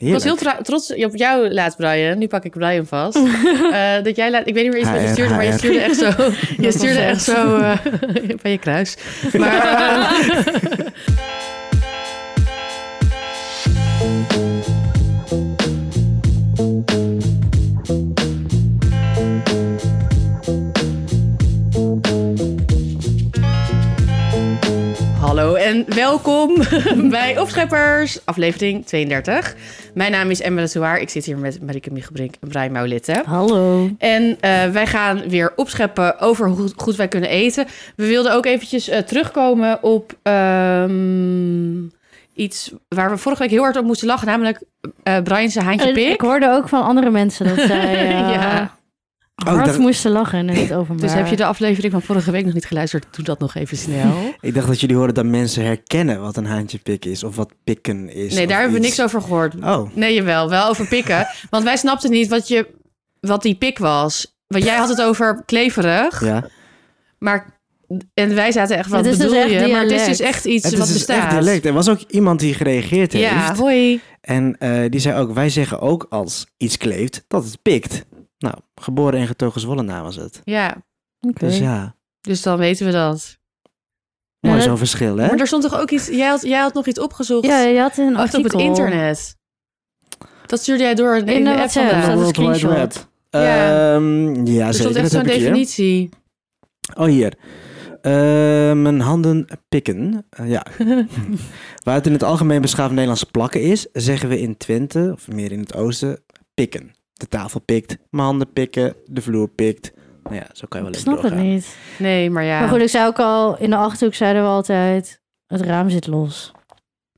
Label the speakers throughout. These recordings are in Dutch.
Speaker 1: Ik
Speaker 2: Heerlijk.
Speaker 1: was heel tra- trots op jou laat, Brian. Nu pak ik Brian vast. Eh, dat jij laat, ik weet niet meer eens wat je
Speaker 2: HR.
Speaker 1: stuurde, maar je stuurde echt zo. je stuurde echt zo eh, van je kruis. Maar, eh, Hallo en welkom bij Opscheppers, aflevering 32. Mijn naam is Emma de Zouaar. Ik zit hier met Marike Miegebrink en Brian Maulette.
Speaker 3: Hallo.
Speaker 1: En eh, wij gaan weer opscheppen over hoe goed wij kunnen eten. We wilden ook eventjes eh, terugkomen op ehm, iets waar we vorige week heel hard op moesten lachen. Namelijk eh Brian zijn haantje
Speaker 3: En
Speaker 1: pik.
Speaker 3: Ik hoorde ook van andere mensen dat zij eh,
Speaker 1: Ja.
Speaker 3: hard
Speaker 2: Oh, dat-
Speaker 3: moesten lachen en het openbaar.
Speaker 1: Dus heb je de aflevering van vorige week nog niet geluisterd? Doe dat nog even snel.
Speaker 2: Ik dacht dat jullie hoorden dat mensen herkennen wat een haantjepik is. Of wat pikken is.
Speaker 1: Nee,
Speaker 2: of
Speaker 1: daar hebben we
Speaker 2: iets.
Speaker 1: niks over gehoord.
Speaker 2: Oh,
Speaker 1: Nee, jawel. Wel over pikken. Want wij snapten niet wat, je, wat die pik was. Want jij had het over kleverig.
Speaker 2: ja. Maar
Speaker 1: En wij zaten echt van,
Speaker 3: Het
Speaker 1: wat
Speaker 3: is dus
Speaker 1: bedoel je?
Speaker 3: echt
Speaker 1: Maar het is dus
Speaker 3: dialect.
Speaker 1: echt iets
Speaker 2: het
Speaker 1: wat
Speaker 2: is dus
Speaker 1: bestaat.
Speaker 2: echt dialect. Er was ook iemand die gereageerd heeft.
Speaker 1: Ja, hoi.
Speaker 2: En eh, die zei ook, wij zeggen ook als iets kleeft, dat het pikt. Nou, geboren en getogen Zwollenaar was het.
Speaker 1: Ja,
Speaker 3: Oké.
Speaker 2: Dus ja,
Speaker 1: dus dan weten we dat.
Speaker 3: Ja,
Speaker 2: mooi
Speaker 3: dat-
Speaker 2: zo'n verschil, hè?
Speaker 1: Maar er stond toch ook iets... Jij had, jij had nog iets opgezocht
Speaker 3: Ja, je had een
Speaker 1: Echt
Speaker 3: artikel.
Speaker 1: Oh, op het internet. Dat stuurde jij door in,
Speaker 3: In
Speaker 1: in
Speaker 3: de
Speaker 1: de app van
Speaker 3: WhatsApp.
Speaker 1: de-
Speaker 3: staat een
Speaker 2: World Wide
Speaker 3: screenshot.
Speaker 2: Web.
Speaker 1: Ja.
Speaker 2: Ehm, ja, zeker.
Speaker 1: Er stond
Speaker 2: Dat
Speaker 1: echt zo'n
Speaker 2: heb ik hier.
Speaker 1: definitie.
Speaker 2: Oh, hier. Eh, mijn handen pikken. Eh, ja. Waar het in het algemeen beschaafd Nederlands plakken is, zeggen we in Twente, of meer in het oosten, pikken. De tafel pikt, mijn handen pikken, de vloer pikt. Nou ja, zo kan je wel
Speaker 3: Ik
Speaker 2: even
Speaker 3: snap het
Speaker 2: doorgaan.
Speaker 3: niet.
Speaker 1: Nee, maar ja.
Speaker 3: Maar goed, ik zei ook al, in de Achterhoek zeiden we altijd, het raam zit los.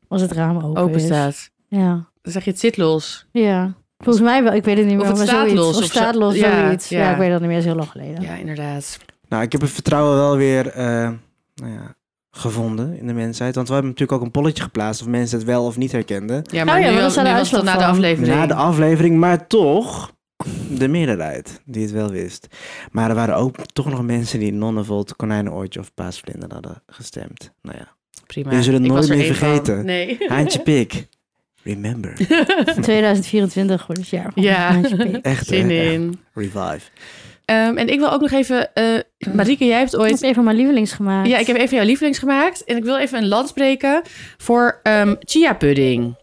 Speaker 3: Als het raam open,
Speaker 1: open
Speaker 3: is.
Speaker 1: staat.
Speaker 3: Ja.
Speaker 1: Dan zeg je het zit los.
Speaker 3: ja. Volgens mij wel, ik weet het niet meer.
Speaker 1: Of het
Speaker 3: maar
Speaker 1: staat
Speaker 3: zoiets.
Speaker 1: los
Speaker 3: Of
Speaker 1: of zo.
Speaker 3: staat los,
Speaker 1: Ja,
Speaker 3: zoiets. Ja,
Speaker 1: ja.
Speaker 3: ik weet dat niet meer, dat is heel lang geleden.
Speaker 1: Ja, inderdaad.
Speaker 2: Nou, ik heb het vertrouwen wel weer eh, nou ja, gevonden in de mensheid. Want we hebben natuurlijk ook een polletje geplaatst of mensen het wel of niet herkenden.
Speaker 1: Ja, maar
Speaker 3: Oh ja,
Speaker 1: nu,
Speaker 3: maar
Speaker 1: was,
Speaker 3: dat is wel
Speaker 1: nu
Speaker 3: de
Speaker 1: was het
Speaker 3: uitslag
Speaker 1: dan na de
Speaker 3: van.
Speaker 1: aflevering.
Speaker 2: Na de aflevering, maar toch de meerderheid die het wel wist. Maar er waren ook toch nog mensen die nonnenvolt, konijnenoortje of paasvlinder hadden gestemd. Nou ja,
Speaker 1: Prima.
Speaker 2: je zullen het
Speaker 1: Ik was
Speaker 2: nooit meer
Speaker 1: er één van.
Speaker 2: vergeten.
Speaker 1: Nee.
Speaker 2: Haantje Pik, remember.
Speaker 3: 2024 wordt het dus jaar van
Speaker 1: Ja.
Speaker 3: Haantje Pik.
Speaker 2: Echt,
Speaker 1: Zin
Speaker 2: hè? Echt.
Speaker 1: in.
Speaker 2: Revive.
Speaker 1: Ehm, en ik wil ook nog even... eh Marieke, jij hebt
Speaker 3: Ik
Speaker 1: ooit
Speaker 3: heb even mijn lievelings gemaakt.
Speaker 1: Ja, ik heb even jouw lievelings gemaakt. En ik wil even een lans breken voor ehm chia pudding.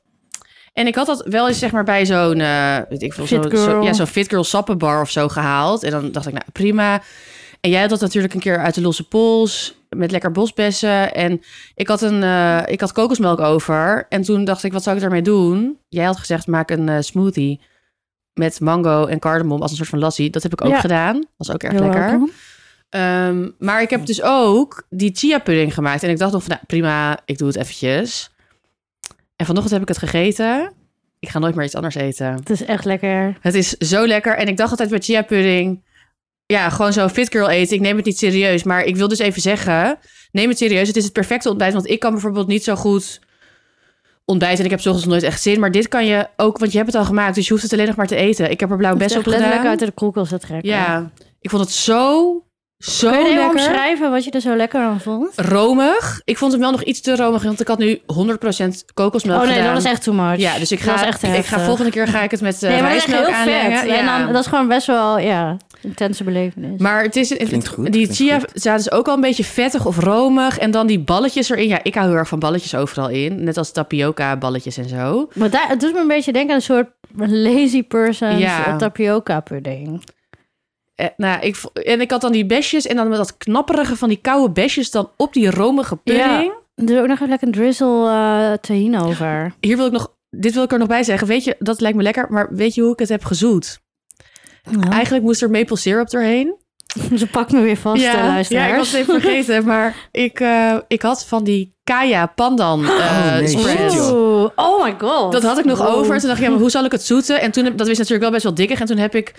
Speaker 1: En ik had dat wel eens zeg maar bij zo'n eh, weet ik veel,
Speaker 3: Fit
Speaker 1: zo'n- zo'n-
Speaker 3: girl.
Speaker 1: ja, zo'n fit girl sappenbar of zo gehaald. En dan dacht ik, nou prima. En jij had dat natuurlijk een keer uit de losse pols met lekker bosbessen. En ik had, een, eh, ik had kokosmelk over. En toen dacht ik, wat zou ik daarmee doen? Jij had gezegd, maak een eh, smoothie met mango en cardamom als een soort van lassie. Dat heb ik ook
Speaker 3: Ja.
Speaker 1: gedaan. Was ook erg
Speaker 3: You're
Speaker 1: lekker.
Speaker 3: welcome.
Speaker 1: Ehm, maar ik heb dus ook die chia pudding gemaakt. En ik dacht nog van, nou, prima, ik doe het eventjes. En vanochtend heb ik het gegeten. Ik ga nooit meer iets anders eten.
Speaker 3: Het is echt lekker.
Speaker 1: Het is zo lekker. En ik dacht altijd bij chia pudding... Ja, gewoon zo fit girl eten. Ik neem het niet serieus. Maar ik wil dus even zeggen... Neem het serieus. Het is het perfecte ontbijt. Want ik kan bijvoorbeeld niet zo goed ontbijten. En ik heb 's ochtends nooit echt zin. Maar dit kan je ook... Want je hebt het al gemaakt. Dus je hoeft het alleen nog maar te eten. Ik heb er blauw
Speaker 3: Het is
Speaker 1: best op
Speaker 3: echt letterlijk
Speaker 1: gedaan.
Speaker 3: uit de koelkast te trekken.
Speaker 1: Ja. Ik vond het zo... Zo
Speaker 3: Kun je even
Speaker 1: lekker.
Speaker 3: omschrijven wat je er zo lekker aan vond?
Speaker 1: romig. Ik vond hem wel nog iets te romig, want ik had nu 100% kokosmelk
Speaker 3: oh nee,
Speaker 1: gedaan.
Speaker 3: dat is echt too much.
Speaker 1: Ja, dus ik
Speaker 3: Dat
Speaker 1: ga,
Speaker 3: is echt
Speaker 1: ik
Speaker 3: heftig.
Speaker 1: ga volgende keer ga ik het met eh
Speaker 3: Nee, maar dat is echt
Speaker 1: rijstmelk
Speaker 3: heel
Speaker 1: aanlengen.
Speaker 3: vet. En dan, dat is gewoon best wel, ja, intense belevenis.
Speaker 1: Maar het is, het-
Speaker 2: Klinkt goed,
Speaker 1: die
Speaker 2: klinkt
Speaker 1: chia
Speaker 2: goed.
Speaker 1: zaten dus ook al een beetje vettig of romig. En dan die balletjes erin. Ja, ik hou heel erg van balletjes overal in. Net als tapioca balletjes en zo.
Speaker 3: Maar daar, het doet me een beetje denken aan een soort lazy person
Speaker 1: Ja.
Speaker 3: tapioca pudding.
Speaker 1: Eh, nou, ik, vo- en ik had dan die besjes en dan met dat knapperige van die koude besjes dan op die romige pudding.
Speaker 3: Er is ook nog even lekker een drizzle eh tahini over.
Speaker 1: Hier wil ik nog, dit wil ik er nog bij zeggen. Weet je, dat lijkt me lekker, maar weet je hoe ik het heb gezoet?
Speaker 3: Nou,
Speaker 1: Eigenlijk moest er maple syrup doorheen.
Speaker 3: ze pakt me weer vast, eh, luisteraars.
Speaker 1: Ja, ik was het even vergeten, maar ik, eh, ik had van die Kaya Pandan eh,
Speaker 2: Oh, nee,
Speaker 1: spreads.
Speaker 2: shit, joh.
Speaker 3: Oeh, oh my god.
Speaker 1: Dat had ik nog
Speaker 3: Wow.
Speaker 1: over. Toen dacht ik, ja, maar hoe zal ik het zoeten? En toen, heb- dat is natuurlijk wel best wel dikkig. En toen heb ik,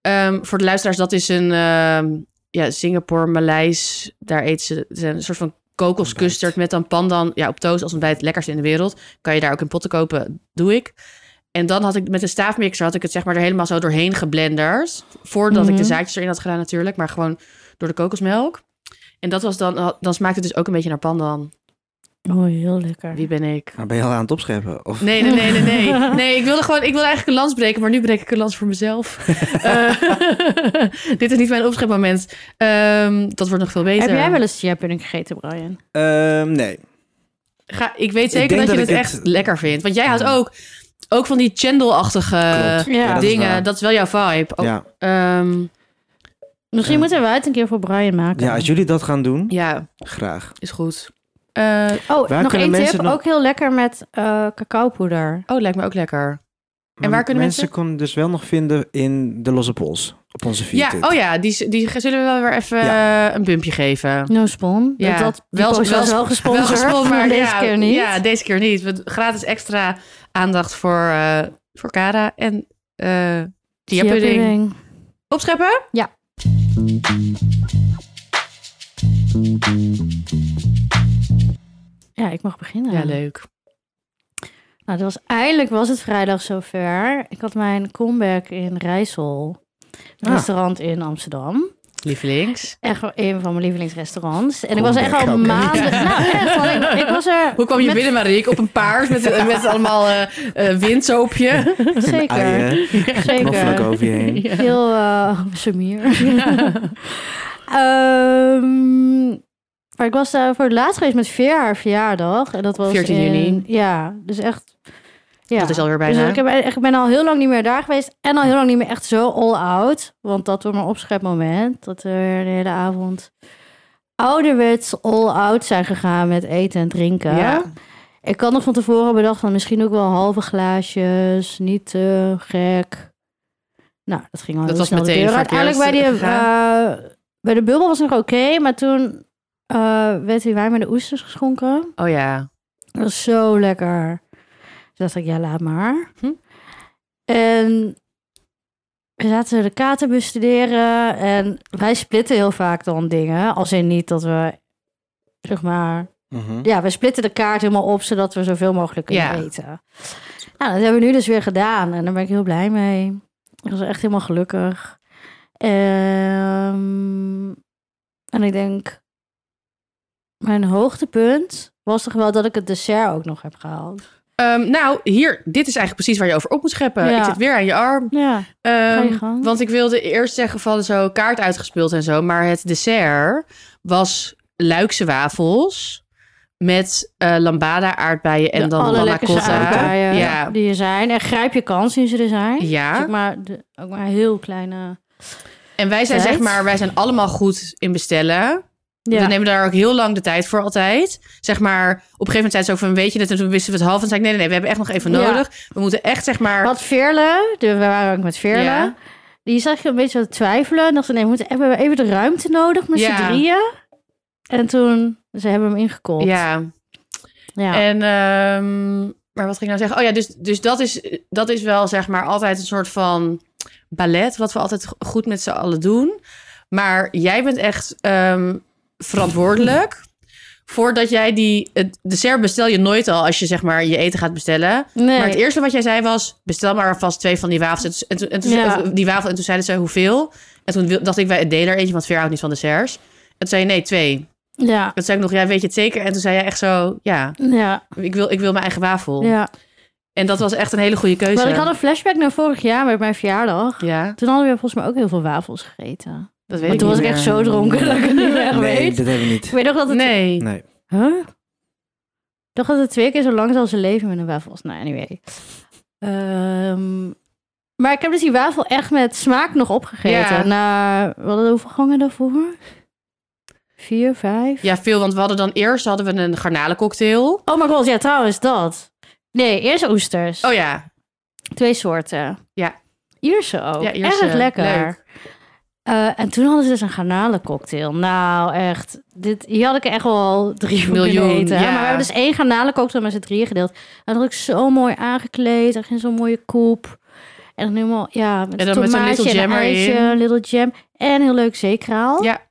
Speaker 1: ehm, voor de luisteraars, dat is een ehm, ja, Singapore, Maleis. Daar eten ze het is een soort van kokoscustard met dan pandan. Ja, op toast als ontbijt. Het lekkerste in de wereld. Kan je daar ook in potten kopen. Doe ik. En dan had ik met een staafmixer had ik het zeg maar er helemaal zo doorheen geblenderd. Voordat ik de
Speaker 3: Mhm.
Speaker 1: zaadjes erin had gedaan natuurlijk. Maar gewoon door de kokosmelk. En dat was dan, dan smaakte het dus ook een beetje naar pandan.
Speaker 3: Oh, heel lekker.
Speaker 1: Wie ben ik?
Speaker 2: Maar ben je al aan het opscheppen? Of...
Speaker 1: Nee, nee, nee, nee, nee. Nee, ik wilde gewoon, ik wilde eigenlijk een lans breken, maar nu breek ik een lans voor mezelf. Eh, dit is niet mijn opschepmoment. Ehm, dat wordt nog veel beter.
Speaker 3: Heb jij wel eens chia-pudding gegeten, Brian?
Speaker 2: Ehm, nee.
Speaker 1: Ga, ik weet
Speaker 2: Ik
Speaker 1: zeker
Speaker 2: denk dat
Speaker 1: dat, je
Speaker 2: ik
Speaker 1: het echt
Speaker 2: het-
Speaker 1: lekker vindt. Want jij houdt
Speaker 2: Ja.
Speaker 1: ook, ook van die chendel-achtige
Speaker 2: Klopt.
Speaker 3: ja, dat
Speaker 1: Eh,
Speaker 3: is
Speaker 1: dingen.
Speaker 2: waar.
Speaker 1: dat oh, is wel jouw vibe. Ook,
Speaker 2: ja.
Speaker 1: ehm,
Speaker 3: Misschien
Speaker 2: Ja.
Speaker 3: moeten we het een keer voor Brian maken.
Speaker 2: ja, als jullie dat gaan doen,
Speaker 1: ja,
Speaker 2: graag.
Speaker 1: is goed. Eh,
Speaker 3: Oh,
Speaker 2: Waar
Speaker 3: nog
Speaker 2: kunnen
Speaker 3: één
Speaker 2: mensen
Speaker 3: tip.
Speaker 2: nog-
Speaker 3: Ook heel lekker met eh cacaopoeder.
Speaker 1: oh, lijkt me ook lekker.
Speaker 2: Maar
Speaker 1: waar kunnen
Speaker 2: mensen...
Speaker 1: mensen-
Speaker 2: kunnen dus wel nog vinden in de Losse Pols. Op onze feed.
Speaker 1: Ja, oh ja, die, die zullen we wel weer even eh, een bumpje geven.
Speaker 3: No spon.
Speaker 1: Ja,
Speaker 3: Dat, dat,
Speaker 1: wel-
Speaker 3: wel, was
Speaker 1: wel-
Speaker 3: wel, gesponsord,
Speaker 1: Wel gesponsord,
Speaker 3: maar deze
Speaker 1: ja,
Speaker 3: keer niet.
Speaker 1: Ja, deze keer niet. We- Gratis extra aandacht voor, eh voor Cara en eh chia pudding.
Speaker 3: Chia-pudding.
Speaker 1: Opscheppen?
Speaker 3: Ja. Ja, ik mag beginnen.
Speaker 1: Ja, leuk.
Speaker 3: Nou, dat was, eindelijk was het vrijdag zover. Ik had mijn comeback in Rijssel. Een
Speaker 2: Ah.
Speaker 3: restaurant in Amsterdam.
Speaker 1: Lievelings.
Speaker 3: Echt wel een van mijn lievelingsrestaurants. En ik was echt
Speaker 2: Comeback
Speaker 3: al
Speaker 2: ook.
Speaker 3: maanden...
Speaker 1: Ja.
Speaker 3: Nou, echt, want ik, ik was er...
Speaker 1: Hoe kwam je
Speaker 3: met-
Speaker 1: binnen, Marieke? Op een paard met, met allemaal eh eh wind zo op je.
Speaker 3: Zeker,
Speaker 2: Eieren, knoflook
Speaker 3: zeker.
Speaker 2: over je heen.
Speaker 3: Heel eh sumier. Ehm, maar ik was daar voor het laatst geweest met Veer haar verjaardag. En dat was
Speaker 1: 14 juni.
Speaker 3: in- ja, dus echt... Ja.
Speaker 1: Dat is alweer bijna.
Speaker 3: Dus ik, heb, ik ben al heel lang niet meer daar geweest. En al heel lang niet meer echt zo all-out. Want dat wordt mijn opschepmoment. Dat we de hele avond ouderwets all-out zijn gegaan met eten en drinken.
Speaker 1: Ja.
Speaker 3: Ik had nog van tevoren bedacht van misschien ook wel halve glaasjes. Niet te gek. Nou, dat ging al
Speaker 1: Dat
Speaker 3: heel
Speaker 1: was
Speaker 3: snel de
Speaker 1: meteen
Speaker 3: deur uit.
Speaker 1: verkeerd
Speaker 3: Uiteindelijk bij, die, eh, bij de bubbel was het nog oké. maar toen eh, werd die wijn met de oesters geschonken.
Speaker 1: Oh ja.
Speaker 3: Dat was zo lekker. Toen dacht ik, ja, laat maar.
Speaker 1: Hm.
Speaker 3: En we zaten de kaart te bestuderen. En wij splitten heel vaak dan dingen. Als in niet dat we, zeg maar...
Speaker 2: Mhm.
Speaker 3: Ja, we splitten de kaart helemaal op, zodat we zoveel mogelijk kunnen
Speaker 1: Ja.
Speaker 3: eten. Nou, dat hebben we nu dus weer gedaan. En daar ben ik heel blij mee. Ik was echt helemaal gelukkig. Ehm, en ik denk... Mijn hoogtepunt was toch wel dat ik het dessert ook nog heb gehaald.
Speaker 1: Ehm, nou, hier, dit is eigenlijk precies waar je over op moet scheppen.
Speaker 3: Ja.
Speaker 1: Ik zit weer aan je arm.
Speaker 3: Ja,
Speaker 1: Ehm,
Speaker 3: ga je gang.
Speaker 1: Want ik wilde eerst zeggen van zo kaart uitgespeeld en zo. Maar het dessert was Luikse wafels met eh, lambada aardbeien en
Speaker 3: De
Speaker 1: dan panna
Speaker 3: allerlekkerste
Speaker 1: cotta.
Speaker 3: aardbeien
Speaker 1: Ja.
Speaker 3: die er zijn. En grijp je kans nu ze er zijn. Zeg
Speaker 1: Ja,
Speaker 3: maar, de, ook maar heel kleine...
Speaker 1: en wij zijn
Speaker 3: Tijd.
Speaker 1: zeg maar, wij zijn allemaal goed in bestellen. We nemen daar ook heel lang de tijd voor altijd. Zeg maar, op een gegeven moment zei ze ook van, weet je het? En toen wisten we het half en zei ik, nee, nee, nee, we hebben echt nog even
Speaker 3: Ja.
Speaker 1: nodig. We moeten echt, zeg maar...
Speaker 3: Wat Veerle, de- we waren ook met Veerle.
Speaker 1: Ja.
Speaker 3: Die zag je een beetje wat twijfelen. En dacht, nee, we moeten hebben we even de ruimte nodig met
Speaker 1: Ja.
Speaker 3: z'n drieën. En toen, ze hebben hem ingekopt.
Speaker 1: Ja,
Speaker 3: Ja.
Speaker 1: En, ehm, maar wat ging ik nou zeggen? Oh ja, dus, dus dat, is, dat is wel zeg maar altijd een soort van ballet, wat we altijd go- goed met z'n allen doen. Maar jij bent echt ehm, verantwoordelijk. Voordat jij die. Het dessert bestel je nooit al als je zeg maar je eten gaat bestellen.
Speaker 3: nee.
Speaker 1: Maar het eerste wat jij zei was: bestel maar vast twee van die wafels. En toen, en toen,
Speaker 3: Ja.
Speaker 1: of die wafel, en toen zeiden ze hoeveel. En toen wil- dacht ik: wij delen er eentje, want Veer houdt niet van desserts. En toen zei je: nee, twee.
Speaker 3: Ja.
Speaker 1: Dat zei ik nog: jij weet je het zeker. En toen zei jij echt zo: ja,
Speaker 3: Ja.
Speaker 1: ik wil, ik wil mijn eigen wafel.
Speaker 3: ja.
Speaker 1: En dat was echt een hele goede keuze.
Speaker 3: Maar ik had een flashback naar vorig jaar met mijn verjaardag.
Speaker 1: Ja,
Speaker 3: Toen hadden we volgens mij ook heel veel wafels gegeten.
Speaker 1: dat weet
Speaker 3: Maar
Speaker 1: ik
Speaker 3: toen
Speaker 1: niet
Speaker 3: was ik
Speaker 1: meer.
Speaker 3: echt zo dronken dat ik het niet meer
Speaker 2: Nee,
Speaker 3: weet.
Speaker 2: dat hebben we
Speaker 3: Ik
Speaker 2: niet.
Speaker 3: weet nog dat het...
Speaker 1: Nee.
Speaker 2: Nee.
Speaker 3: Huh? Ik dacht dat het twee keer zo lang zal zijn leven met een wafel was. Nou, anyway. Ehm, maar ik heb dus die wafel echt met smaak nog opgegeten.
Speaker 1: Ja.
Speaker 3: Na, we hadden hoeveel gangen daarvoor? Vier, vijf?
Speaker 1: Ja, veel, want we hadden dan eerst hadden we een garnalencocktail.
Speaker 3: Oh my god, ja, trouwens, dat. Nee, eerst oesters.
Speaker 1: Oh ja,
Speaker 3: Twee soorten.
Speaker 1: Ja.
Speaker 3: Ierse ook.
Speaker 1: Ja, Ierse.
Speaker 3: Oh, Erg lekker.
Speaker 1: Leuk.
Speaker 3: Eh, en toen hadden ze dus een garnalencocktail. Nou, echt. Dit, hier had ik echt wel drie voor kunnen
Speaker 1: Miljoen,
Speaker 3: eten.
Speaker 1: ja.
Speaker 3: Maar we hebben dus één garnalencocktail met z'n drieën gedeeld. En dat had ik zo mooi aangekleed. Er ging zo'n mooie koep. En dan helemaal, ja, met
Speaker 1: En dan
Speaker 3: een
Speaker 1: met zo'n
Speaker 3: tomaatje
Speaker 1: little
Speaker 3: en een
Speaker 1: jam erin.
Speaker 3: eitje, een little jam. En heel leuk zeekraal.
Speaker 1: ja.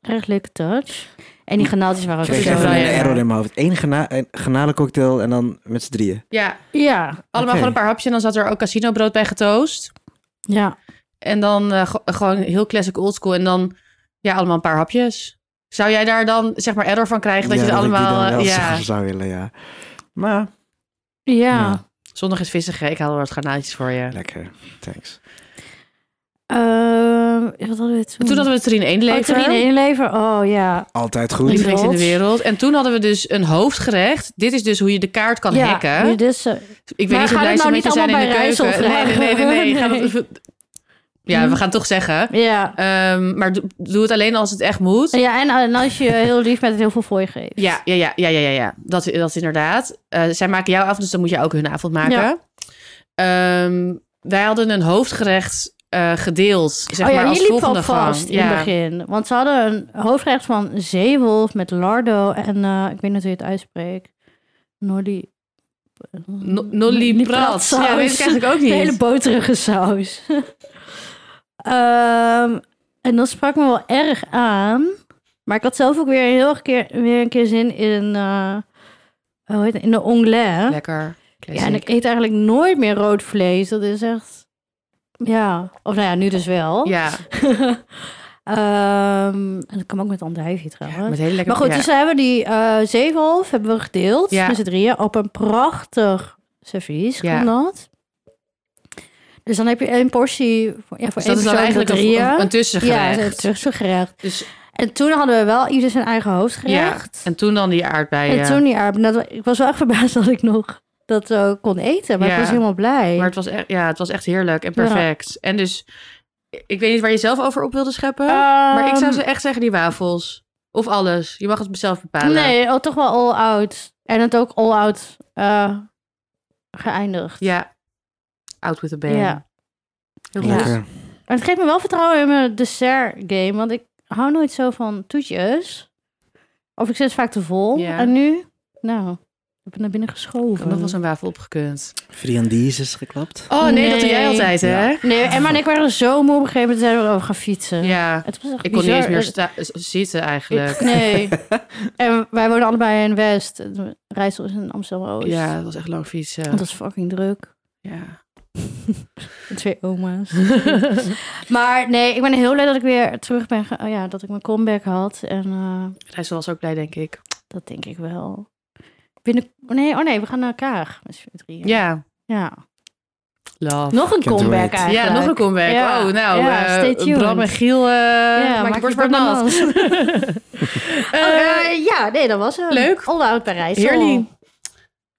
Speaker 3: Erg leuke touch. En die garnaaltjes waren
Speaker 2: Ik
Speaker 3: ook
Speaker 1: Kreeg
Speaker 2: kreeg
Speaker 3: zo
Speaker 1: even
Speaker 2: even
Speaker 1: een
Speaker 2: een
Speaker 1: ja.
Speaker 2: error
Speaker 3: lekker.
Speaker 2: in mijn hoofd. Eén gena een garnalencocktail en dan met z'n drieën.
Speaker 1: ja.
Speaker 3: Ja,
Speaker 1: Allemaal
Speaker 2: Oké.
Speaker 1: gewoon een paar hapjes en dan zat er ook casinobrood bij getoast.
Speaker 3: ja.
Speaker 1: En dan eh, ge- gewoon heel classic oldschool en dan ja, allemaal een paar hapjes. Zou jij daar dan zeg maar error van krijgen dat je het
Speaker 2: ik die
Speaker 1: allemaal...
Speaker 2: dan wel
Speaker 1: eh, ja,
Speaker 2: zelf zou willen, ja. Maar
Speaker 3: Ja.
Speaker 1: zondag is vissig. Ik haal wel wat garnaatjes voor je.
Speaker 2: lekker, thanks.
Speaker 3: Ehm, ja, wat hadden we toen?
Speaker 1: En toen hadden we Trine
Speaker 3: Oh,
Speaker 1: Eenlever.
Speaker 3: terrine inlever. Oh ja.
Speaker 2: Altijd
Speaker 1: Goed.
Speaker 2: goed.
Speaker 3: Lieve-
Speaker 1: in de wereld. En toen hadden we dus een hoofdgerecht. Dit is dus hoe je de kaart kan
Speaker 3: ja,
Speaker 1: hacken.
Speaker 3: hier Dus, eh,
Speaker 1: Ik
Speaker 3: Maar
Speaker 1: weet niet hoe
Speaker 3: gaat
Speaker 1: blij
Speaker 3: het
Speaker 1: ze
Speaker 3: nou
Speaker 1: met je
Speaker 3: niet
Speaker 1: zijn in de
Speaker 3: allemaal bij
Speaker 1: keuken. Nee,
Speaker 3: Rijssel
Speaker 1: nee, nee. nee, nee.
Speaker 3: vragen?
Speaker 1: Gaat het- Ja, we gaan het toch zeggen.
Speaker 3: ja.
Speaker 1: Ehm, maar doe, doe het alleen als het echt moet.
Speaker 3: ja, en, en als je heel lief met heel veel fooi geeft.
Speaker 1: Ja, ja, ja, ja, ja, ja, ja. Dat, dat is inderdaad. Eh, zij maken jouw avond, dus dan moet je ook hun avond maken.
Speaker 3: Ja.
Speaker 1: Ehm, wij hadden een hoofdgerecht eh, gedeeld. Zeg
Speaker 3: oh ja,
Speaker 1: maar als
Speaker 3: hier liep
Speaker 1: volgende
Speaker 3: wel vast
Speaker 1: gang.
Speaker 3: in het begin. Want ze hadden een hoofdrecht van zeewolf met lardo en eh, ik weet niet hoe je het uitspreekt. Nolly...
Speaker 1: No- Nolly Prat.
Speaker 3: saus.
Speaker 1: Ja, weet ik eigenlijk ook
Speaker 3: Een
Speaker 1: niet.
Speaker 3: hele boterige saus. Ehm, en dat sprak me wel erg aan. Maar ik had zelf ook weer heel erg keer, weer een keer zin in, eh hoe heet het? in de onglet.
Speaker 1: Lekker.
Speaker 3: Ja, en ik eet eigenlijk nooit meer rood vlees. Dat is echt... Ja, of nou ja, nu dus wel.
Speaker 1: Ja,
Speaker 3: Ehm, en dat kan ook met andijvie trouwens.
Speaker 1: met hele lekker.
Speaker 3: maar goed,
Speaker 1: ja.
Speaker 3: dus we hebben die eh zeewolf hebben we gedeeld Dus
Speaker 1: Ja.
Speaker 3: met z'n drieën op een prachtig servies.
Speaker 1: Ja.
Speaker 3: Kan dat? Dus dan heb je één portie voor, ja, voor
Speaker 1: Dus
Speaker 3: één
Speaker 1: dat is dan
Speaker 3: persoon met
Speaker 1: eigenlijk een,
Speaker 3: drieën.
Speaker 1: een, een tussengerecht.
Speaker 3: Ja, een tussengerecht.
Speaker 1: dus,
Speaker 3: En toen hadden we wel ieder zijn eigen
Speaker 1: ja.
Speaker 3: hoofdgerecht.
Speaker 1: En toen dan die aardbeien.
Speaker 3: En toen die aardappelen. Dat- Ik was wel echt verbaasd dat ik nog dat eh, kon eten. Maar
Speaker 1: Ja.
Speaker 3: ik was helemaal blij.
Speaker 1: Maar het was, echt, ja, het was echt heerlijk en perfect. En dus, ik weet niet waar je zelf over op wilde scheppen. maar ik zou
Speaker 3: Ehm,
Speaker 1: ze echt zeggen, die wafels. Of alles. Je mag het zelf bepalen.
Speaker 3: Nee, oh, toch wel all-out. En het ook all-out eh, geëindigd.
Speaker 1: Ja. Out with a bang.
Speaker 3: Ja.
Speaker 1: Heel goed.
Speaker 2: Lekker.
Speaker 3: Maar het geeft me wel vertrouwen in mijn dessert game. Want ik hou nooit zo van toetjes. Of ik zit vaak te vol.
Speaker 1: Ja.
Speaker 3: En nu? Nou, ik ben naar
Speaker 1: Ik
Speaker 3: binnen
Speaker 1: heb
Speaker 3: geschoven.
Speaker 1: nog wel zo'n wafel opgekund.
Speaker 2: Friandises geklapt.
Speaker 1: Oh nee, dat doe jij
Speaker 3: Nee.
Speaker 1: altijd, hè? Ja.
Speaker 3: Nee, Emma en ik waren zo moe op een gegeven moment. zeiden we, oh, we gaan fietsen. Het was echt
Speaker 1: Ik kon niet
Speaker 3: bizar.
Speaker 1: eens meer
Speaker 3: Het-
Speaker 1: sta- z- zitten eigenlijk.
Speaker 3: Nee. en wij wonen allebei in West. Rijssel is in Amsterdam-Oost.
Speaker 1: Ja, dat was echt lang fietsen.
Speaker 3: Dat is fucking druk.
Speaker 1: Ja.
Speaker 3: De Twee oma's. maar nee, ik ben heel blij dat ik weer terug ben. ge- oh ja, dat ik mijn comeback had. En eh,
Speaker 1: Rijssel was ook blij, denk ik.
Speaker 3: dat denk ik wel. Binnen... Nee, oh nee, we gaan naar Kaag met z'n drieën.
Speaker 1: Ja.
Speaker 3: Ja.
Speaker 1: Love.
Speaker 3: Nog een
Speaker 2: Can't
Speaker 3: comeback
Speaker 2: wait.
Speaker 3: eigenlijk.
Speaker 1: Ja, nog een comeback.
Speaker 3: Ja.
Speaker 1: Oh, nou,
Speaker 3: Ja,
Speaker 1: eh,
Speaker 3: stay tuned.
Speaker 1: Bram en Giel, eh
Speaker 3: Ja,
Speaker 1: maak je borst maar
Speaker 3: maar
Speaker 1: nat.
Speaker 3: nat.
Speaker 1: Eh,
Speaker 3: Eh, ja, nee, dat was hem.
Speaker 1: leuk.
Speaker 3: All out Parijs.
Speaker 1: Heerlijk.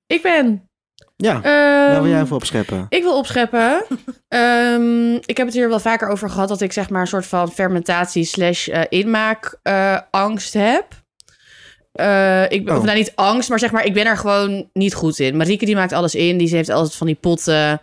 Speaker 1: ik ben...
Speaker 2: Ja,
Speaker 1: ehm,
Speaker 2: daar wil jij even opscheppen.
Speaker 1: Ik wil opscheppen. Ehm, ik heb het hier wel vaker over gehad dat ik zeg maar een soort van fermentatie slash eh, inmaak eh, angst heb. Eh, ik ben,
Speaker 2: Oh.
Speaker 1: Of nou niet angst, maar zeg maar, ik ben er gewoon niet goed in. Marieke die maakt alles in. Die heeft altijd van die potten.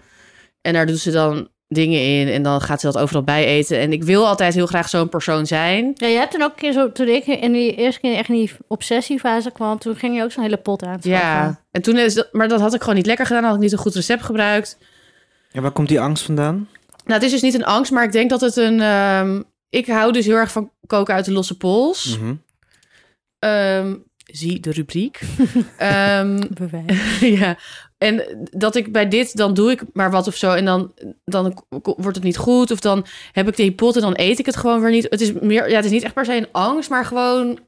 Speaker 1: En daar doet ze dan dingen in. En dan gaat ze dat overal bij eten. En ik wil altijd heel graag zo'n persoon zijn.
Speaker 3: Ja, je hebt toen ook een keer zo, toen ik in die eerste keer echt in die obsessiefase kwam, toen ging je ook zo'n hele pot aan.
Speaker 1: Ja, en toen is dat, maar dat had ik gewoon niet lekker gedaan. Had ik niet een goed recept gebruikt.
Speaker 2: En waar komt die angst vandaan?
Speaker 1: Nou, het is dus niet een angst, maar ik denk dat het een. ehm, ik hou dus heel erg van koken uit de losse pols.
Speaker 2: Mhm.
Speaker 1: Ehm, zie de rubriek. Ehm,
Speaker 3: Bewijs.
Speaker 1: ja. En dat ik bij dit, dan doe ik maar wat of zo. En dan, dan k- wordt het niet goed. Of dan heb ik die pot en dan eet ik het gewoon weer niet. Het is, meer, ja, het is niet echt per se een angst, maar gewoon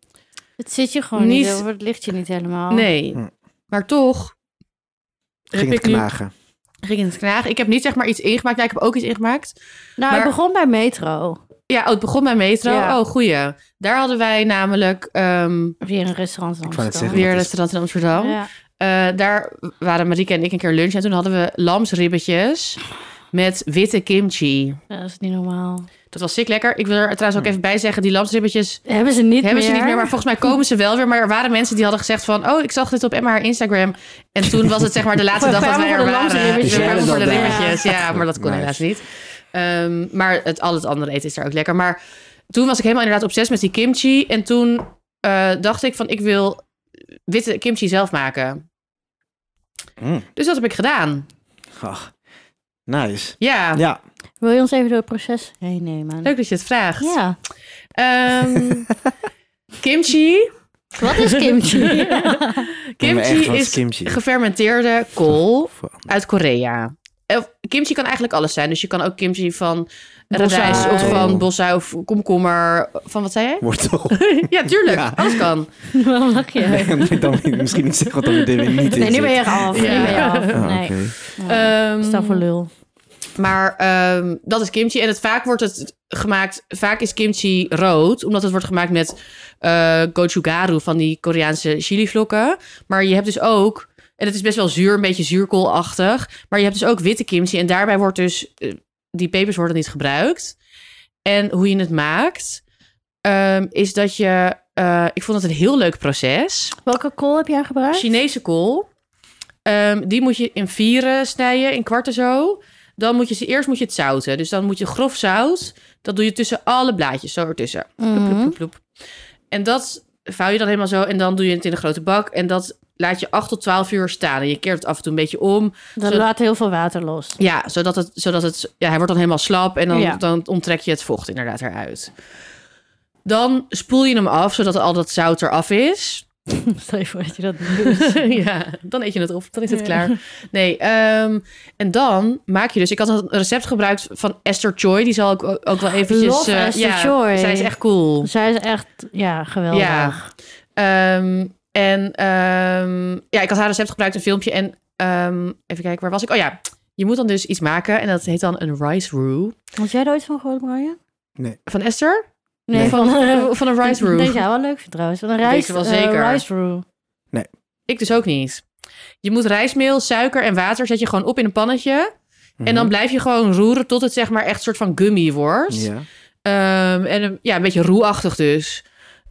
Speaker 3: Het zit je gewoon niet,
Speaker 1: Niet-
Speaker 3: over, het ligt je niet helemaal.
Speaker 1: nee.
Speaker 2: Hm.
Speaker 1: Maar toch heb
Speaker 2: Ging het
Speaker 1: ik nu-
Speaker 2: knagen.
Speaker 1: ging het knagen. Ik heb niet zeg maar iets ingemaakt. Ja, ik heb ook iets ingemaakt.
Speaker 3: Nou,
Speaker 1: Maar-
Speaker 3: het begon bij Metro.
Speaker 1: Ja, oh, het begon bij Metro.
Speaker 3: Ja.
Speaker 1: Oh, goeie. Daar hadden wij namelijk ehm,
Speaker 3: Weer een restaurant in
Speaker 2: Ik wou net
Speaker 3: Amsterdam.
Speaker 2: zeggen.
Speaker 1: weer
Speaker 2: dat is-
Speaker 1: een restaurant in Amsterdam.
Speaker 3: Ja.
Speaker 1: Eh, daar waren Marieke en ik een keer lunch. En toen hadden we lamsribbetjes met witte kimchi.
Speaker 3: Ja, Dat is niet normaal.
Speaker 1: Dat was ziek lekker. Ik wil er trouwens ook even bij zeggen, die lamsribbetjes
Speaker 3: Hebben ze niet
Speaker 1: hebben
Speaker 3: meer?
Speaker 1: ze niet meer. Maar volgens mij komen ze wel weer. Maar er waren mensen die hadden gezegd van... oh, ik zag dit op Emma haar Instagram. En toen was het zeg maar de laatste
Speaker 3: We
Speaker 1: dag dat wij
Speaker 3: kwamen
Speaker 1: er
Speaker 3: voor de
Speaker 1: waren.
Speaker 3: lamsribbetjes.
Speaker 1: We kwamen voor de
Speaker 2: Ja.
Speaker 1: ribbetjes. Ja, maar dat kon
Speaker 2: Nice.
Speaker 1: helaas niet. Ehm, maar het, al het andere eten is daar ook lekker. Maar toen was ik helemaal inderdaad obsessief met die kimchi. En toen eh, dacht ik van... ik wil witte kimchi zelf maken.
Speaker 2: Mm.
Speaker 1: Dus dat heb ik gedaan.
Speaker 2: Ach, nice.
Speaker 1: Ja,
Speaker 2: Ja,
Speaker 3: Wil je ons even door het proces heen nemen?
Speaker 1: leuk dat je het vraagt.
Speaker 3: Ja.
Speaker 1: Ehm, kimchi.
Speaker 3: Wat is kimchi?
Speaker 2: neem me echt
Speaker 1: Kimchi
Speaker 2: wat
Speaker 1: is
Speaker 2: kimchi.
Speaker 1: gefermenteerde kool
Speaker 2: Voor-
Speaker 1: uit Korea. of kimchi kan eigenlijk alles zijn. Dus je kan ook kimchi van
Speaker 3: Bossaai.
Speaker 1: radijs of
Speaker 2: Oh.
Speaker 1: van bossa of komkommer. Van wat zei jij?
Speaker 2: Wortel.
Speaker 1: ja, tuurlijk.
Speaker 2: Ja.
Speaker 1: Alles kan.
Speaker 3: Waarom lach je?
Speaker 2: dan moet ik misschien niet zeggen wat er meteen weer niet in
Speaker 3: Nee, nu
Speaker 2: zit.
Speaker 3: ben je af. Nu ben je af.
Speaker 2: Ah,
Speaker 3: Nee.
Speaker 2: oké.
Speaker 1: Ehm,
Speaker 3: Sta voor lul.
Speaker 1: Maar ehm, dat is kimchi. En het, vaak wordt het gemaakt... Vaak is kimchi rood, omdat het wordt gemaakt met eh gochugaru... van die Koreaanse chilivlokken. Maar je hebt dus ook... En het is best wel zuur, een beetje zuurkoolachtig. Maar je hebt dus ook witte kimchi. En daarbij wordt dus... eh, die pepers worden niet gebruikt. En hoe je het maakt... ehm, is dat je... eh, ik vond het een heel leuk proces.
Speaker 3: Welke kool heb jij gebruikt?
Speaker 1: Chinese kool. Ehm, die moet je in vieren snijden, in kwarten zo. Dan moet je ze eerst moet je het zouten. Dus dan moet je grof zout. Dat doe je tussen alle blaadjes, zo ertussen. Ploep, ploep,
Speaker 3: Mhm.
Speaker 1: ploep, ploep. En dat vouw je dan helemaal zo. En dan doe je het in een grote bak. En dat laat je 8 tot 12 uur staan. En je keert het af en toe een beetje om.
Speaker 3: Dat
Speaker 1: Zo-
Speaker 3: laat heel veel water los.
Speaker 1: Ja, zodat het, zodat het ja, hij wordt dan helemaal slap en dan,
Speaker 3: Ja.
Speaker 1: dan onttrek je het vocht inderdaad eruit. Dan spoel je hem af, zodat al dat zout eraf is.
Speaker 3: Stel je voor dat je dat doet.
Speaker 1: ja, dan eet je het op. Dan is het
Speaker 3: Ja.
Speaker 1: klaar. Nee, ehm, en dan maak je dus... Ik had een recept gebruikt van Esther Choi. Die zal ik ook, ook wel eventjes...
Speaker 3: Love
Speaker 1: eh,
Speaker 3: Esther
Speaker 1: ja,
Speaker 3: Choi.
Speaker 1: Zij is echt cool.
Speaker 3: Zij is echt, ja, geweldig.
Speaker 1: Ja. Ehm, en ehm, ja, ik had haar recept gebruikt, een filmpje. En ehm, even kijken, waar was ik? Oh ja, je moet dan dus iets maken. En dat heet dan een rice roux.
Speaker 3: Had jij er ooit van gehoord, Marja?
Speaker 1: Van Esther?
Speaker 3: Nee, eh,
Speaker 1: Van, van een rice roux.
Speaker 3: Deze jij wel leuk vindt trouwens. Van een
Speaker 1: Deze
Speaker 3: rijst,
Speaker 1: wel
Speaker 3: eh,
Speaker 1: zeker.
Speaker 3: rice roux.
Speaker 1: Ik dus ook niet. Je moet rijstmeel, suiker en water zet je gewoon op in een pannetje. En dan blijf je gewoon roeren tot het zeg maar echt soort van gummy wordt.
Speaker 2: Mhm. Ja.
Speaker 1: Ehm, en een- ja, een beetje roeachtig dus.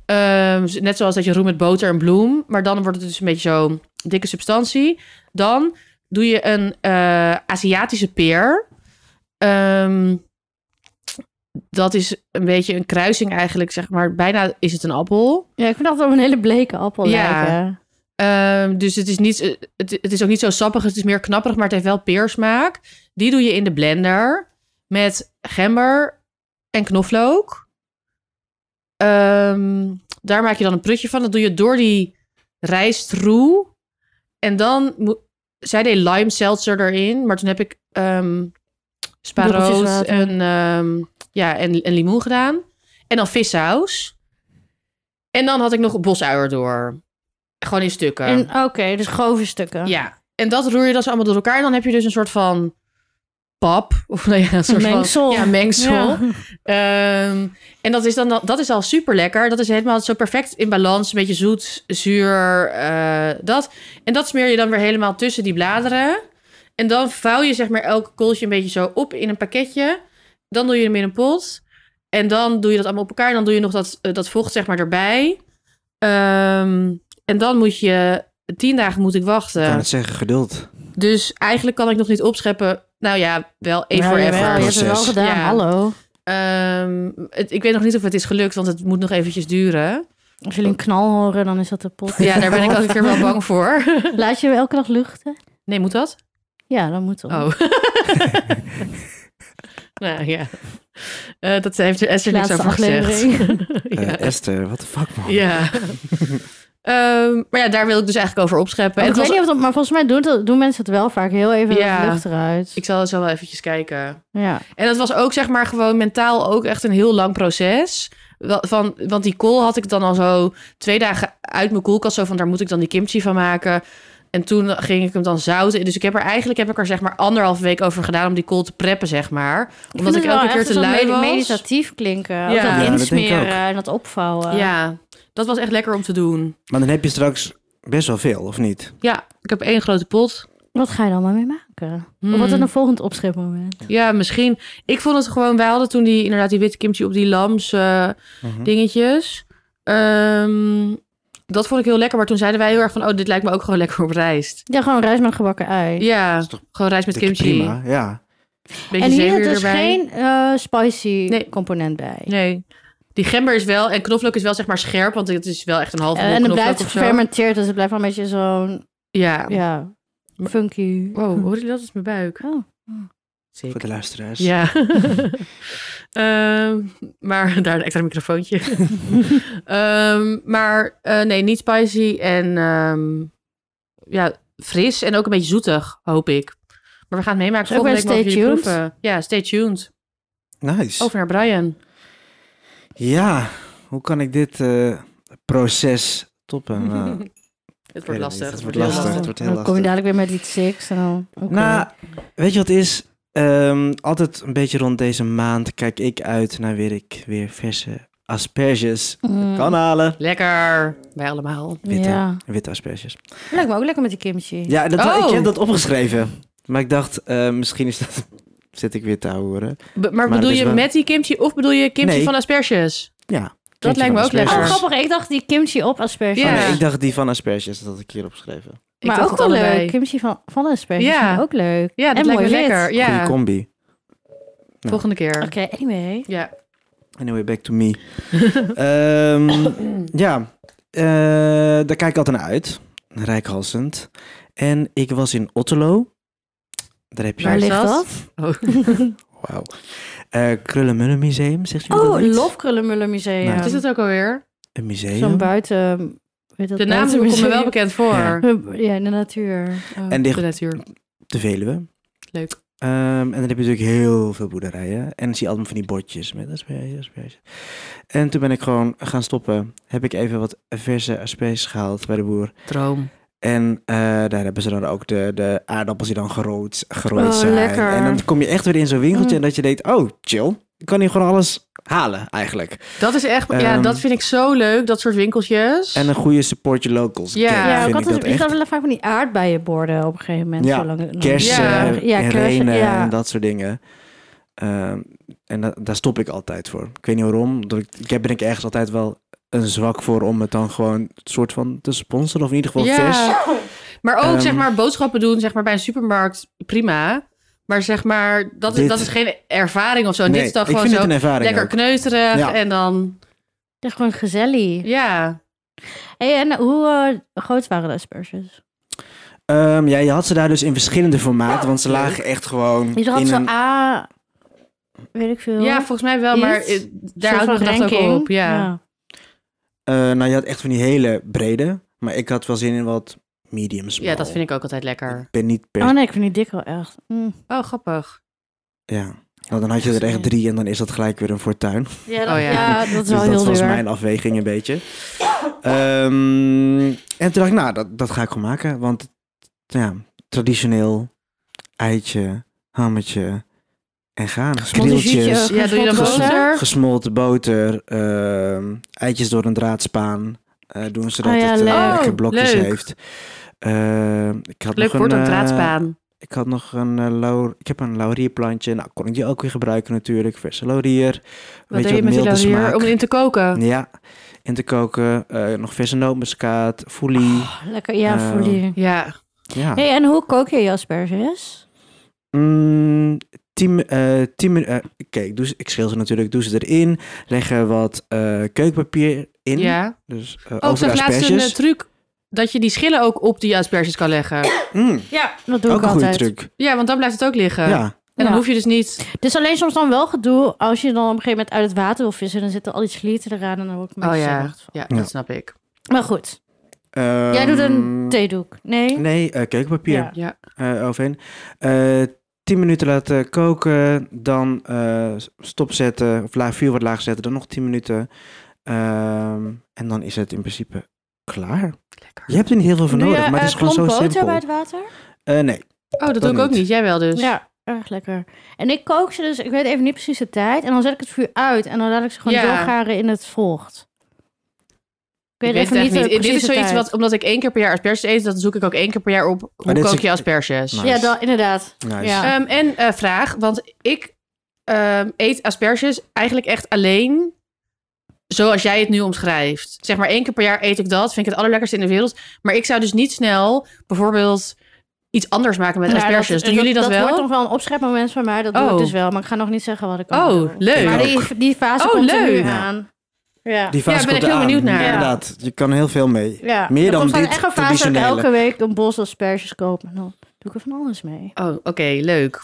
Speaker 1: Ehm, z- net zoals dat je roe met boter en bloem. Maar dan wordt het dus een beetje zo'n dikke substantie. Dan doe je een eh, Aziatische peer. Ehm, dat is een beetje een kruising eigenlijk, zeg maar. Bijna is het een appel.
Speaker 3: Ja, ik vind dat op een hele bleke appel
Speaker 1: Ja.
Speaker 3: lijken.
Speaker 1: Ehm, dus het is, niet, eh, het, het is ook niet zo sappig, het is meer knapperig, maar het heeft wel peersmaak. Die doe je in de blender met gember en knoflook. Ehm, daar maak je dan een prutje van. Dat doe je door die rijstroe. En dan... mo- Zij deed lime seltzer erin, maar toen heb ik ehm
Speaker 3: Druppeltjes
Speaker 1: sparoot
Speaker 3: water.
Speaker 1: en, ehm, ja, en, en limoen gedaan. En dan vissaus. En dan had ik nog bosuier door. Gewoon in stukken.
Speaker 3: En Oké, dus grove stukken.
Speaker 1: Ja, en dat roer je dan zo allemaal door elkaar. En dan heb je dus een soort van pap. Of nou ja, een soort
Speaker 3: mengsel.
Speaker 1: Van, ja, mengsel.
Speaker 3: Ja.
Speaker 1: Ehm, en dat is, dan, al- dat is al super lekker. Dat is helemaal zo perfect in balans. Een beetje zoet, zuur, eh, dat. En dat smeer je dan weer helemaal tussen die bladeren. En dan vouw je zeg maar elk kooltje een beetje zo op in een pakketje. Dan doe je hem in een pot. En dan doe je dat allemaal op elkaar. En dan doe je nog dat, eh, dat vocht zeg maar erbij. Ehm, en dan moet je... Tien dagen moet ik
Speaker 2: Ik kan
Speaker 1: wachten.
Speaker 2: het zeggen, geduld.
Speaker 1: Dus eigenlijk kan ik nog niet opscheppen. Nou ja, wel één
Speaker 3: Nou,
Speaker 1: voor
Speaker 3: jawel,
Speaker 1: forever.
Speaker 3: je hebt het wel
Speaker 2: Proces.
Speaker 3: gedaan,
Speaker 1: Ja.
Speaker 3: hallo.
Speaker 1: Ehm, het, ik weet nog niet of het is gelukt, want het moet nog eventjes duren.
Speaker 3: Als jullie een knal horen, dan is dat de pot.
Speaker 1: Ja, daar ben ik elke keer wel bang voor.
Speaker 3: Laat je elke dag luchten?
Speaker 1: Nee, moet dat?
Speaker 3: Ja, dat moet toch.
Speaker 1: Oh. nou ja. Eh, dat heeft er Esther niks over gezegd.
Speaker 2: Eh,
Speaker 1: Ja.
Speaker 2: Esther, what the fuck man.
Speaker 1: ja. Ehm, maar ja, daar wil ik dus eigenlijk over opscheppen.
Speaker 3: Maar
Speaker 1: En
Speaker 3: Oh, ik
Speaker 1: het
Speaker 3: weet
Speaker 1: was-
Speaker 3: niet of dat, maar volgens mij doen, dat- doen mensen het wel vaak. Heel even
Speaker 1: Ja.
Speaker 3: de lucht eruit.
Speaker 1: ik zal zo wel eventjes kijken.
Speaker 3: ja.
Speaker 1: En dat was ook, zeg maar, gewoon mentaal ook echt een heel lang proces. Wel- Van, want die kool had ik dan al zo twee dagen uit mijn koelkast. Zo van, daar moet ik dan die kimchi van maken. En toen ging ik hem dan zouten. Dus ik heb er eigenlijk heb ik er zeg maar anderhalf week over gedaan om die kool te preppen, zeg maar. Omdat ik
Speaker 3: vind het wel
Speaker 1: elke keer
Speaker 3: echt
Speaker 1: te
Speaker 3: een soort
Speaker 1: lui
Speaker 3: medi-
Speaker 1: was.
Speaker 3: meditatief klinken. Ook
Speaker 1: Ja,
Speaker 3: dat
Speaker 2: dat denk ik
Speaker 3: insmeren
Speaker 2: ook.
Speaker 3: en dat opvouwen.
Speaker 1: Ja, dat was echt lekker om te doen.
Speaker 2: Maar dan heb je straks best wel veel, of niet?
Speaker 1: Ja, ik heb één grote pot.
Speaker 3: Wat ga je dan maar mee maken? Of wat
Speaker 1: Hmm.
Speaker 3: dan een volgend opschepmoment?
Speaker 1: Ja, misschien. Ik vond het gewoon... Wij hadden toen die, inderdaad die witte kimchi op die lams... eh,
Speaker 2: Mhm.
Speaker 1: dingetjes. Ehm, dat vond ik heel lekker. Maar toen zeiden wij heel erg van... oh, dit lijkt me ook gewoon lekker op rijst.
Speaker 3: Ja, gewoon rijst met gebakken ei.
Speaker 1: Ja, gewoon rijst met
Speaker 2: Dikke
Speaker 1: kimchi.
Speaker 2: Prima, ja.
Speaker 1: Beetje
Speaker 3: en hier
Speaker 1: zeewier
Speaker 3: is dus
Speaker 1: erbij.
Speaker 3: geen eh, spicy
Speaker 1: Nee.
Speaker 3: component bij.
Speaker 1: Nee. Die gember is wel... en knoflook is wel zeg maar scherp... want het is wel echt een halve
Speaker 3: Eh,
Speaker 1: rol
Speaker 3: en het
Speaker 1: knoflook
Speaker 3: blijft
Speaker 1: of zo.
Speaker 3: gefermenteerd, dus het blijft wel een beetje zo'n,
Speaker 1: Ja.
Speaker 3: ja, funky.
Speaker 1: Wow, hoor je dat? Dat is mijn buik.
Speaker 3: Oh.
Speaker 2: Voor de luisteraars.
Speaker 1: Ja. Ehm, maar daar een extra microfoontje. Ehm, maar eh, nee, niet spicy en ehm, ja, fris en ook een beetje zoetig, hoop ik. Maar we gaan het meemaken.
Speaker 3: Dus ook
Speaker 1: Volgende week
Speaker 3: bij
Speaker 1: mogen
Speaker 3: Stay
Speaker 1: jullie proeven. Ja, stay tuned.
Speaker 2: Nice.
Speaker 1: Over naar Brian.
Speaker 2: Ja, hoe kan ik dit eh, proces toppen? Nou,
Speaker 1: Het
Speaker 2: weet
Speaker 1: wordt lastig.
Speaker 2: het niet. Het wordt
Speaker 1: Het wordt heel
Speaker 2: lastig.
Speaker 1: lastig.
Speaker 2: Het wordt heel
Speaker 3: dan kom je
Speaker 2: lastig.
Speaker 3: dadelijk weer met lied 6 en dan... oké.
Speaker 2: Nou, weet je wat het is? Ehm, altijd een beetje rond deze maand kijk ik uit naar weer ik weer verse asperges
Speaker 3: Mm.
Speaker 2: kan halen.
Speaker 1: Lekker. Wij allemaal.
Speaker 2: Witte,
Speaker 3: Ja.
Speaker 2: witte asperges.
Speaker 3: Lijkt me ook lekker met die kimchi.
Speaker 2: Ja, dat,
Speaker 1: Oh.
Speaker 2: ik heb dat opgeschreven. Maar ik dacht, eh, misschien is dat... Zit ik weer te horen.
Speaker 1: Be- maar,
Speaker 2: het
Speaker 1: bedoel
Speaker 2: is
Speaker 1: je
Speaker 2: dus wel-
Speaker 1: met die kimchi of bedoel je kimchi
Speaker 2: Nee.
Speaker 1: van asperges?
Speaker 2: Ja.
Speaker 1: Dat
Speaker 2: Kindje
Speaker 1: lijkt me
Speaker 2: van
Speaker 1: ook
Speaker 2: asperges.
Speaker 3: Oh,
Speaker 1: lekker.
Speaker 3: grappig. Ik dacht die kimchi op asperges.
Speaker 1: Ja.
Speaker 2: Oh, nee, ik dacht die van asperges, dat had ik hier opgeschreven.
Speaker 1: Ik
Speaker 3: maar
Speaker 1: dacht
Speaker 3: ook
Speaker 1: het
Speaker 3: wel
Speaker 1: allebei.
Speaker 3: leuk. Kimchi van, van asperges.
Speaker 1: Ja.
Speaker 3: vind ik Ook leuk.
Speaker 1: Ja, dat
Speaker 3: En
Speaker 1: lijkt me
Speaker 3: mooi wit.
Speaker 1: lekker.
Speaker 2: Goeie
Speaker 1: Ja,
Speaker 2: combi.
Speaker 1: volgende keer.
Speaker 3: Oké, anyway.
Speaker 1: Ja.
Speaker 2: Anyway, back to me. Ehm, ja, eh, daar kijk ik altijd naar uit. Rijkhalsend. En ik was in Otterlo. Daar heb je...
Speaker 3: Waar
Speaker 1: is
Speaker 3: ligt
Speaker 1: dat?
Speaker 3: dat?
Speaker 1: Oh.
Speaker 2: Wauw. Eh Krullenmullen Museum, zegt u dat
Speaker 3: Oh,
Speaker 2: iets?
Speaker 3: Lofkrullenmullen Museum.
Speaker 2: Nou,
Speaker 1: Wat is het ook alweer?
Speaker 2: Een
Speaker 3: Zo'n
Speaker 2: museum.
Speaker 3: buiten... weet dat,
Speaker 1: De naam
Speaker 3: buiten
Speaker 1: komt me wel
Speaker 3: museum.
Speaker 1: bekend voor.
Speaker 2: Ja.
Speaker 3: Ja, in de natuur.
Speaker 1: Oh,
Speaker 2: En dicht-
Speaker 1: De natuur.
Speaker 2: De Veluwe.
Speaker 1: Leuk.
Speaker 2: Ehm, en dan heb je natuurlijk heel veel boerderijen. En dan zie je allemaal van die bordjes met asperges, asperges. En toen ben ik gewoon gaan stoppen. Heb ik even wat verse asperges gehaald bij de boer.
Speaker 1: Droom.
Speaker 2: En eh, daar hebben ze dan ook de, de aardappels die dan gerooid, gerooid
Speaker 3: Oh,
Speaker 2: zijn.
Speaker 3: lekker.
Speaker 2: En dan kom je echt weer in zo'n winkeltje en dat je denkt... Oh, chill. Ik kan hier gewoon alles halen eigenlijk.
Speaker 1: Dat is echt, ja,
Speaker 2: Ehm,
Speaker 1: dat vind ik zo leuk, dat soort winkeltjes.
Speaker 2: En een goede support je locals.
Speaker 1: Ja.
Speaker 2: Ken-
Speaker 1: Ja,
Speaker 3: Ja,
Speaker 2: vind
Speaker 3: ook
Speaker 2: ik dat
Speaker 3: altijd, ik
Speaker 2: echt.
Speaker 3: had wel vaak van die aardbeienborden op een gegeven moment.
Speaker 2: Ja,
Speaker 3: zo lang,
Speaker 2: kersen
Speaker 1: Ja.
Speaker 2: en
Speaker 3: kersen,
Speaker 2: renen
Speaker 3: ja.
Speaker 2: en dat soort dingen. Ehm, en da- daar stop ik altijd voor. Ik weet niet waarom. Omdat ik, ik heb ben ik ergens altijd wel een zwak voor om het dan gewoon een soort van te sponsoren. Of in ieder geval vers.
Speaker 1: Oh, Maar ook,
Speaker 2: Ehm,
Speaker 1: zeg maar, boodschappen doen, zeg maar, bij een supermarkt, prima. Maar zeg maar, dat, is
Speaker 2: Dit-
Speaker 1: dat is geen ervaring of zo. En
Speaker 2: Nee,
Speaker 1: dit is dan
Speaker 2: ik
Speaker 1: gewoon
Speaker 2: vind
Speaker 1: zo
Speaker 2: het een ervaring
Speaker 1: lekker
Speaker 2: ook.
Speaker 1: kneuterig
Speaker 2: Ja.
Speaker 1: en dan,
Speaker 3: Dat is gewoon gezellig.
Speaker 1: ja.
Speaker 3: Hey, en hoe eh, groot waren de asperges?
Speaker 2: Ehm, ja, je had ze daar dus in verschillende formaten. Want ze lagen echt gewoon
Speaker 3: Je had
Speaker 2: in
Speaker 3: zo
Speaker 2: een...
Speaker 3: A, weet ik veel.
Speaker 1: Ja, volgens mij wel,
Speaker 3: Iets?
Speaker 1: maar eh, daar houdt
Speaker 3: een
Speaker 1: mijn gedachte ook op. Ja.
Speaker 2: eh, nou, je had echt van die hele brede. Maar ik had wel zin in wat medium small.
Speaker 1: ja, dat vind ik ook altijd lekker.
Speaker 2: ben niet per...
Speaker 3: Oh nee, ik vind die dik wel echt. Mm.
Speaker 1: Oh, grappig.
Speaker 2: Ja. Nou, dan had je er echt drie en dan is dat gelijk weer een fortuin.
Speaker 3: Ja,
Speaker 1: dat-
Speaker 3: dat,
Speaker 1: Oh, ja.
Speaker 3: ja. dat is
Speaker 2: Dus
Speaker 3: wel
Speaker 2: dat
Speaker 3: heel
Speaker 2: was
Speaker 3: duur.
Speaker 2: mijn afweging een beetje. Ehm, en toen dacht ik, nou, dat, dat ga ik gewoon maken. Want ja, traditioneel eitje, hammetje en gaan. Grilltjes,
Speaker 1: Dus Ja, doe je dan
Speaker 2: gesmolten
Speaker 1: boter?
Speaker 2: gesmolten boter, ehm, eitjes door een draadspan. eh, doen ze dat
Speaker 3: Oh ja,
Speaker 2: het eh,
Speaker 3: leuk.
Speaker 2: lekker
Speaker 1: Oh,
Speaker 2: blokjes
Speaker 1: leuk.
Speaker 2: heeft. Ehm, ik had
Speaker 1: Leuk
Speaker 2: nog
Speaker 1: wordt
Speaker 2: een,
Speaker 1: een
Speaker 2: eh,
Speaker 1: draadspaan.
Speaker 2: ik had nog een eh, laur- Ik heb een laurierplantje. Nou, kon ik die ook weer gebruiken natuurlijk. Verse laurier.
Speaker 1: Wat
Speaker 2: Weet
Speaker 1: deed
Speaker 2: je
Speaker 1: je met die
Speaker 2: milde
Speaker 1: laurier
Speaker 2: smaak.
Speaker 1: om in te koken?
Speaker 2: Ja, in te koken. eh, nog verse nootmuskaat, foelie.
Speaker 1: Oh.
Speaker 3: Oh, Lekker, ja,
Speaker 2: Eh,
Speaker 3: voor die.
Speaker 1: Ja.
Speaker 2: Ja.
Speaker 3: Hey, en hoe kook je je asperges?
Speaker 2: Mm, tien, eh, tien min- eh, Oké, ik, doe ze- ik schil ze natuurlijk. Doe ze erin. Leg er wat eh keukenpapier in.
Speaker 1: ja.
Speaker 2: Dus
Speaker 3: Oh,
Speaker 2: eh
Speaker 1: Ook
Speaker 2: over de
Speaker 1: zag laatst een eh,
Speaker 2: asperges.
Speaker 1: truc dat je die schillen ook op die asperges kan leggen.
Speaker 2: Mm,
Speaker 3: Ja, dat eh, doe
Speaker 2: ook
Speaker 3: ik
Speaker 2: een goede
Speaker 3: altijd. Eh,
Speaker 2: truc.
Speaker 1: Ja, want dan blijft het ook liggen.
Speaker 2: ja.
Speaker 1: En dan
Speaker 3: Ja.
Speaker 1: hoef je dus niet...
Speaker 3: Dus alleen soms dan wel gedoe als je dan op een gegeven moment uit het water wil vissen, dan zitten al die slieten eraan en dan wordt het een
Speaker 1: Oh
Speaker 3: beetje
Speaker 1: ja,
Speaker 3: zenuwachtig van.
Speaker 1: ja,
Speaker 2: Ja.
Speaker 1: dat snap ik.
Speaker 3: Maar goed, jij
Speaker 2: Ehm,
Speaker 3: doet een theedoek. Nee?
Speaker 2: Nee, eh, keukenpapier.
Speaker 3: Ja.
Speaker 1: Ja.
Speaker 2: eh overheen. Eh 10 minuten laten koken, dan eh, stopzetten, of laag, vuur wat laag zetten, dan nog 10 minuten. Ehm, en dan is het in principe klaar.
Speaker 1: Lekker.
Speaker 2: Je hebt er niet heel veel voor
Speaker 3: Doe
Speaker 2: nodig,
Speaker 3: je,
Speaker 2: maar het is
Speaker 3: eh,
Speaker 2: gewoon zo
Speaker 3: klomp boter
Speaker 2: simpel.
Speaker 3: bij het water?
Speaker 2: Eh, nee,
Speaker 1: Oh, dat,
Speaker 2: Dat
Speaker 1: doe ik ook
Speaker 2: niet.
Speaker 1: niet. Jij wel dus.
Speaker 3: Ja, erg lekker. En ik kook ze dus, ik weet even niet precies de tijd. En dan zet ik het vuur uit en dan laat ik ze gewoon
Speaker 1: Ja.
Speaker 3: doorgaren in het vocht. Ik weet,
Speaker 1: Ik weet
Speaker 3: even
Speaker 1: het
Speaker 3: niet eh,
Speaker 1: echt
Speaker 3: de
Speaker 1: niet. Dit is
Speaker 3: precieze
Speaker 1: zoiets
Speaker 3: tijd.
Speaker 1: wat, omdat ik één keer per jaar asperges eet, dat zoek ik ook één keer per jaar op. Hoe
Speaker 2: dit is
Speaker 1: kook
Speaker 2: een-
Speaker 1: je asperges?
Speaker 2: Nou,
Speaker 3: Ja,
Speaker 2: Nice.
Speaker 3: dan, inderdaad.
Speaker 2: nice.
Speaker 3: Ja.
Speaker 1: Ehm, en eh, vraag, want ik ehm, eet asperges eigenlijk echt alleen zoals jij het nu omschrijft. Zeg maar één keer per jaar eet ik dat, vind ik het allerlekkerste in de wereld. Maar ik zou dus niet snel bijvoorbeeld iets anders maken met
Speaker 3: Ja,
Speaker 1: asperges.
Speaker 3: Nou, dat-
Speaker 1: Doen jullie dat,
Speaker 3: Dat wordt
Speaker 1: wel?
Speaker 3: nog wel een opschepmoment van mij, dat doe
Speaker 1: Oh.
Speaker 3: ik dus wel. Maar ik ga nog niet zeggen wat ik allemaal
Speaker 1: Oh,
Speaker 3: doe.
Speaker 1: leuk.
Speaker 3: Maar
Speaker 2: Ik
Speaker 3: die, die fase
Speaker 1: Oh,
Speaker 3: komt er nu
Speaker 1: leuk.
Speaker 2: Ja.
Speaker 3: aan. Ja.
Speaker 2: Die
Speaker 1: Ja,
Speaker 2: fase
Speaker 1: ben
Speaker 2: komt
Speaker 1: ik heel
Speaker 2: eraan.
Speaker 1: benieuwd naar.
Speaker 3: Ja.
Speaker 2: Inderdaad, je kan heel veel mee.
Speaker 3: ja.
Speaker 2: Meer
Speaker 3: Er
Speaker 2: dan
Speaker 3: komt gewoon
Speaker 2: dit
Speaker 3: echt een fase dat ik
Speaker 2: traditionele.
Speaker 3: elke week een bos asperges koop. En dan doe ik er van alles mee.
Speaker 1: Oh, oké, leuk.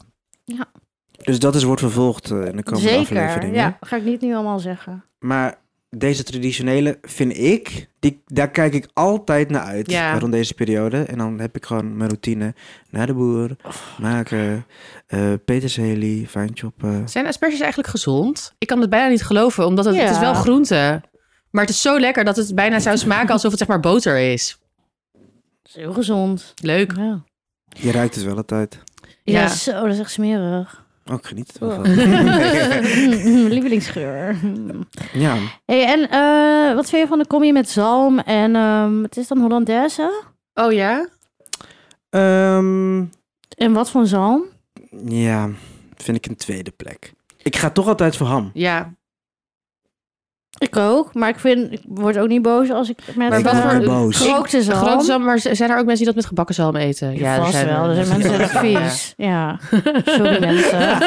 Speaker 2: Dus dat is, wordt vervolgd eh, in de komende
Speaker 3: Zeker,
Speaker 2: afleveringen.
Speaker 3: ja. Ga ik niet nu allemaal zeggen.
Speaker 2: Maar deze traditionele vind ik, die, daar kijk ik altijd naar uit
Speaker 1: Ja.
Speaker 2: rond deze periode. En dan heb ik gewoon mijn routine naar de boer, maken, eh peterselie, fijn choppen.
Speaker 1: Zijn asperges eigenlijk gezond? Ik kan het bijna niet geloven, omdat het, het is
Speaker 3: Ja.
Speaker 1: wel groente. Maar het is zo lekker dat het bijna zou smaken alsof het zeg maar boter is.
Speaker 3: is heel gezond.
Speaker 1: Leuk.
Speaker 3: Ja.
Speaker 2: Je ruikt het wel altijd.
Speaker 1: Ja.
Speaker 3: Ja, zo, dat is echt smerig.
Speaker 2: Ook geniet er wel
Speaker 3: Oh.
Speaker 2: van.
Speaker 3: Lievelingsgeur.
Speaker 2: Ja,
Speaker 3: Hey, en eh, wat vind je van de combi met zalm en ehm, het is dan Hollandaise?
Speaker 1: Oh ja?
Speaker 2: Ehm,
Speaker 3: En wat voor zalm?
Speaker 2: ja, vind ik een tweede plek. Ik ga toch altijd voor ham.
Speaker 1: Ja.
Speaker 3: Ik ook, maar ik vind, ik word ook niet boos als ik met
Speaker 1: Maar
Speaker 2: ik
Speaker 1: wat
Speaker 2: word
Speaker 3: eh,
Speaker 1: voor-
Speaker 2: nooit boos.
Speaker 3: gerookte zalm.
Speaker 1: Grote zalm, maar z- zijn er ook mensen die dat met gebakken zalm eten?
Speaker 3: Ja, vast wel. Er zijn mensen die dat vies. Ja, sorry mensen.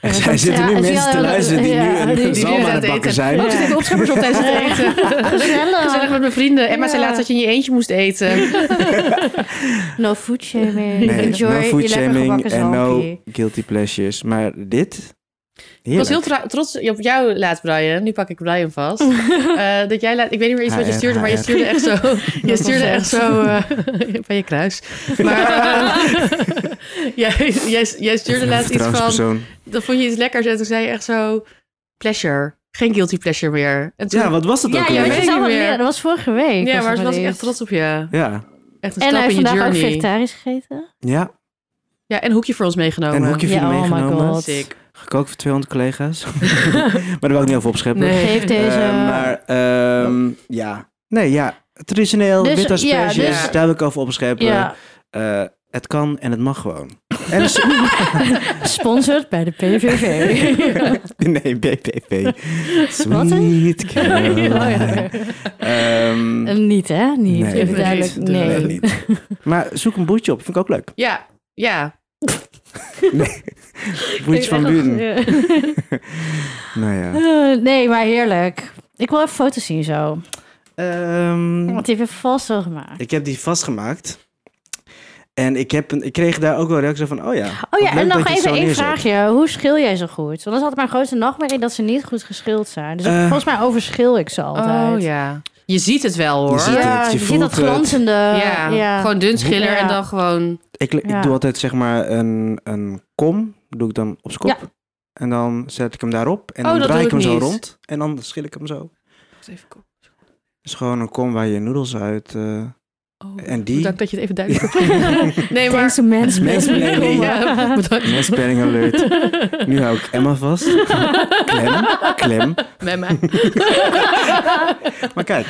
Speaker 2: Er zijn- zitten nu
Speaker 3: Ja, zie je
Speaker 2: mensen te
Speaker 3: al-
Speaker 2: luisteren die
Speaker 3: ja,
Speaker 2: nu
Speaker 3: die-
Speaker 2: een
Speaker 3: die
Speaker 2: zalm
Speaker 1: nu
Speaker 2: aan
Speaker 1: aan
Speaker 2: het
Speaker 1: het
Speaker 2: bakken
Speaker 1: eten.
Speaker 2: zijn.
Speaker 1: Oh, ik zit even opscheppen op tijdens het eten. Gezellig
Speaker 3: Gezellig.
Speaker 1: met mijn vrienden. Emma zei
Speaker 3: Ja.
Speaker 1: laatst dat je in je eentje moest eten.
Speaker 3: No food shaming.
Speaker 2: Nee,
Speaker 3: Enjoy
Speaker 2: no food
Speaker 3: je lekker
Speaker 2: shaming
Speaker 3: gebakken
Speaker 2: en no
Speaker 3: zalmpie.
Speaker 2: guilty pleasures. Maar dit?
Speaker 1: Ik was heel
Speaker 2: Heerlijk.
Speaker 1: tra- trots op jou laat, Brian. Nu pak ik Brian vast. Eh, dat jij laat, ik weet niet meer eens wat je
Speaker 2: HR.
Speaker 1: stuurde, maar je stuurde echt zo. Je stuurde echt zo eh, van je kruis. Maar eh, jij, jij, jij stuurde
Speaker 2: Een
Speaker 1: laatst iets van.
Speaker 2: vertrouwenspersoon.
Speaker 1: Dan vond je iets lekkers en toen zei je echt zo. Pleasure. Geen guilty pleasure meer. En toen,
Speaker 2: Ja, wat was dat
Speaker 3: Ja,
Speaker 2: ook
Speaker 3: je
Speaker 1: weet
Speaker 2: alweer?
Speaker 3: weet
Speaker 1: ik
Speaker 3: het
Speaker 1: niet
Speaker 3: allemaal
Speaker 1: meer.
Speaker 3: meer. Dat was vorige week.
Speaker 1: ja, maar
Speaker 3: was dat
Speaker 1: toen was ik
Speaker 3: dit.
Speaker 1: echt trots op je.
Speaker 2: Ja,
Speaker 1: Echt een
Speaker 3: En hij
Speaker 1: stap
Speaker 3: heeft
Speaker 1: in je
Speaker 3: vandaag ook
Speaker 1: journey.
Speaker 3: vegetarisch gegeten.
Speaker 2: ja.
Speaker 1: Ja, en hoekje voor ons meegenomen.
Speaker 2: En een hoekje voor
Speaker 3: Ja,
Speaker 2: je
Speaker 3: oh my
Speaker 2: meegenomen.
Speaker 3: god.
Speaker 1: Sick.
Speaker 2: Gekookt voor 200 collega's. maar daar wil ik niet over opscheppen.
Speaker 1: Nee.
Speaker 3: Geef
Speaker 2: Eh,
Speaker 3: deze...
Speaker 2: maar ehm, ja. Nee, ja. Traditioneel,
Speaker 3: Dus-
Speaker 2: wit
Speaker 3: ja,
Speaker 2: asperges,
Speaker 1: dus-
Speaker 2: daar wil ik over opscheppen.
Speaker 3: ja,
Speaker 2: Eh, het kan en het mag gewoon. En een
Speaker 3: sponsored bij de PVV.
Speaker 2: Nee, BPP.
Speaker 3: Wat, hè?
Speaker 2: Sweet Caroline.
Speaker 3: Oh
Speaker 2: Ehm,
Speaker 3: Eh, niet, hè? Niet.
Speaker 2: Nee,
Speaker 3: Even
Speaker 2: nee,
Speaker 3: duidelijk,
Speaker 1: niet.
Speaker 3: nee.
Speaker 2: nee, niet. Maar zoek een boertje op, vind ik ook leuk.
Speaker 1: Ja, ja.
Speaker 2: Boertje van Buren.
Speaker 3: Eh,
Speaker 2: Nou ja.
Speaker 3: eh, nee, maar heerlijk. Ik wil even foto's zien zo.
Speaker 2: Ehm,
Speaker 3: Want die heb je vast wel gemaakt.
Speaker 2: ik heb die vastgemaakt. En ik, heb een, ik kreeg daar ook wel reactie van, oh ja.
Speaker 3: Oh
Speaker 2: wat
Speaker 3: ja,
Speaker 2: leuk
Speaker 3: en nog
Speaker 2: dat je het zo
Speaker 3: even één
Speaker 2: neerzet.
Speaker 3: vraagje. Hoe schil jij zo goed? Want dat is altijd mijn grootste nachtmerrie dat ze niet goed geschild zijn. Dus
Speaker 2: Eh.
Speaker 3: volgens mij overschil ik ze altijd.
Speaker 1: Oh ja. Je ziet het wel hoor.
Speaker 2: Je ziet
Speaker 3: Ja,
Speaker 2: het, je
Speaker 3: je, ziet dat
Speaker 2: voelt het.
Speaker 3: glanzende.
Speaker 1: ja, gewoon dun schiller
Speaker 3: Ja.
Speaker 1: en dan gewoon...
Speaker 2: Ik, ik
Speaker 3: Ja.
Speaker 2: doe altijd zeg maar een, een kom, doe ik dan op zijn kop.
Speaker 3: Ja.
Speaker 2: En dan zet ik hem daarop en
Speaker 1: Oh,
Speaker 2: dan
Speaker 1: dat
Speaker 2: draai
Speaker 1: doe
Speaker 2: ik hem
Speaker 1: ik
Speaker 2: zo
Speaker 1: niet.
Speaker 2: rond. En dan schil ik hem zo. Het is gewoon een kom waar je noedels uit... eh,
Speaker 1: Oh,
Speaker 2: En die-
Speaker 1: Bedankt dat je het even duidelijk hebt. nee, maar...
Speaker 3: Thanks to mens,
Speaker 2: Mansplaining.
Speaker 1: Ja, bedankt.
Speaker 2: Nestplanning alert. Nu hou ik Emma vast. Klem, klem.
Speaker 1: Met mij.
Speaker 2: Maar kijk,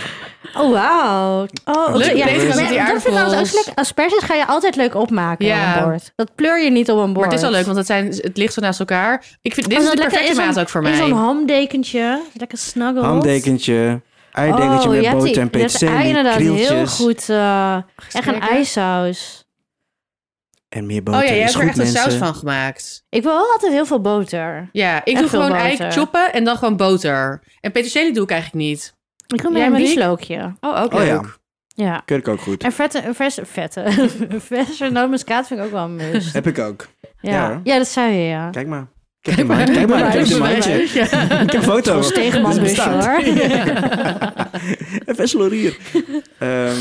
Speaker 3: Oh, wauw. Oh,
Speaker 2: Leuk
Speaker 3: oké, ja.
Speaker 2: bezig met
Speaker 3: Maar
Speaker 2: die
Speaker 3: dat vind ik trouwens ook
Speaker 1: aardappels.
Speaker 3: leuk. Asperges ga je altijd leuk opmaken
Speaker 1: Ja.
Speaker 3: op een bord. Dat pleur je niet op een bord.
Speaker 1: Maar het is wel leuk, want het, zijn, het ligt zo naast elkaar. Ik vind, dit
Speaker 3: Oh,
Speaker 1: is
Speaker 3: dat
Speaker 1: de
Speaker 3: lekker
Speaker 1: perfecte
Speaker 3: in zo'n-
Speaker 1: maat ook voor
Speaker 3: in
Speaker 1: mij.
Speaker 3: Zo'n hamdekentje. Lekker snuggled.
Speaker 2: handekentje, eidekentje
Speaker 3: Oh, je
Speaker 2: met
Speaker 3: hebt
Speaker 2: boter en
Speaker 3: die- je hebt de ei
Speaker 2: peterselie,
Speaker 3: inderdaad heel
Speaker 2: krieltjes
Speaker 3: goed. eh, echt een
Speaker 1: Lekker.
Speaker 3: ijsaus.
Speaker 2: en meer
Speaker 1: Oh
Speaker 2: boter.
Speaker 1: ja, jij
Speaker 2: is
Speaker 1: hebt er
Speaker 2: goed,
Speaker 1: echt een saus
Speaker 2: mensen.
Speaker 1: van gemaakt.
Speaker 3: Ik wil wel altijd heel veel boter.
Speaker 1: Ja, ik
Speaker 3: En
Speaker 1: doe
Speaker 3: veel
Speaker 1: gewoon
Speaker 3: boter.
Speaker 1: eik choppen en dan gewoon boter. En peterselie doe ik eigenlijk niet.
Speaker 3: Ik
Speaker 1: Jij,
Speaker 3: wil meer een
Speaker 1: Marieke?
Speaker 3: bieslookje.
Speaker 1: Oh, ook
Speaker 2: Oh ja,
Speaker 3: Ja.
Speaker 2: keur ik ook goed.
Speaker 3: En vette, verse, vette. verse nootmuskaat vind ik ook wel een must.
Speaker 2: Heb ik ook. Ja, hoor.
Speaker 3: Ja. ja, dat zei je, ja.
Speaker 2: Kijk maar. Kijk maar, kijk maar, ik heb
Speaker 3: maar,
Speaker 2: een
Speaker 3: maar.
Speaker 2: mandje.
Speaker 1: Ja.
Speaker 2: Ik heb een foto.
Speaker 3: Ons
Speaker 2: Dit
Speaker 3: tegenmanbusje,
Speaker 2: bestaat.
Speaker 3: hoor.
Speaker 2: Even een slorier. Ehm,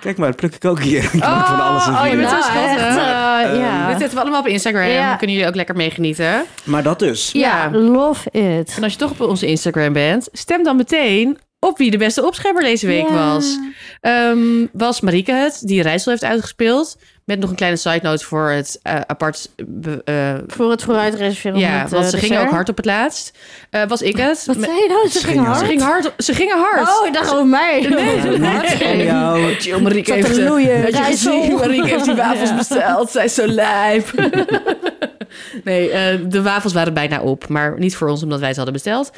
Speaker 2: kijk maar, dat pluk ik ook hier. Ik maak van alles een
Speaker 1: oh, je
Speaker 2: video.
Speaker 1: bent zo
Speaker 3: Nou,
Speaker 1: schattig.
Speaker 3: echt, eh,
Speaker 2: Ehm,
Speaker 1: Dit
Speaker 3: ja.
Speaker 1: zetten we allemaal op Instagram.
Speaker 3: Ja.
Speaker 1: Dan kunnen jullie ook lekker meegenieten.
Speaker 2: Maar dat dus.
Speaker 1: Ja.
Speaker 3: ja, love it.
Speaker 1: En als je toch op onze Instagram bent, stem dan meteen op wie de beste opschepper deze week
Speaker 3: Ja.
Speaker 1: was. Ehm, was Marike het, die Rijssel heeft uitgespeeld. Met nog een kleine side note voor het eh, apart... be- eh,
Speaker 3: Voor het vooruit reserveren.
Speaker 1: ja,
Speaker 3: met,
Speaker 1: want
Speaker 3: eh,
Speaker 1: ze gingen ook
Speaker 3: dessert.
Speaker 1: hard op het laatst. Eh, was ik het?
Speaker 3: Wat
Speaker 1: Me-
Speaker 3: zei je nou? Ze,
Speaker 2: Ze
Speaker 3: gingen
Speaker 2: gingen
Speaker 3: hard.
Speaker 1: ze, gingen hard, ze gingen hard.
Speaker 3: Oh, ik dacht over mij.
Speaker 1: Nee,
Speaker 2: Ja, Max, om
Speaker 3: Ik
Speaker 2: jou.
Speaker 1: chill, Marieke
Speaker 3: zat te
Speaker 1: eh,
Speaker 3: loeien.
Speaker 1: Had je
Speaker 3: Rijssel.
Speaker 1: gezien? Marieke heeft die wafels
Speaker 3: Ja.
Speaker 1: besteld. Zij is zo lijp. nee, eh, de wafels waren bijna op. Maar niet voor ons, omdat wij ze hadden besteld.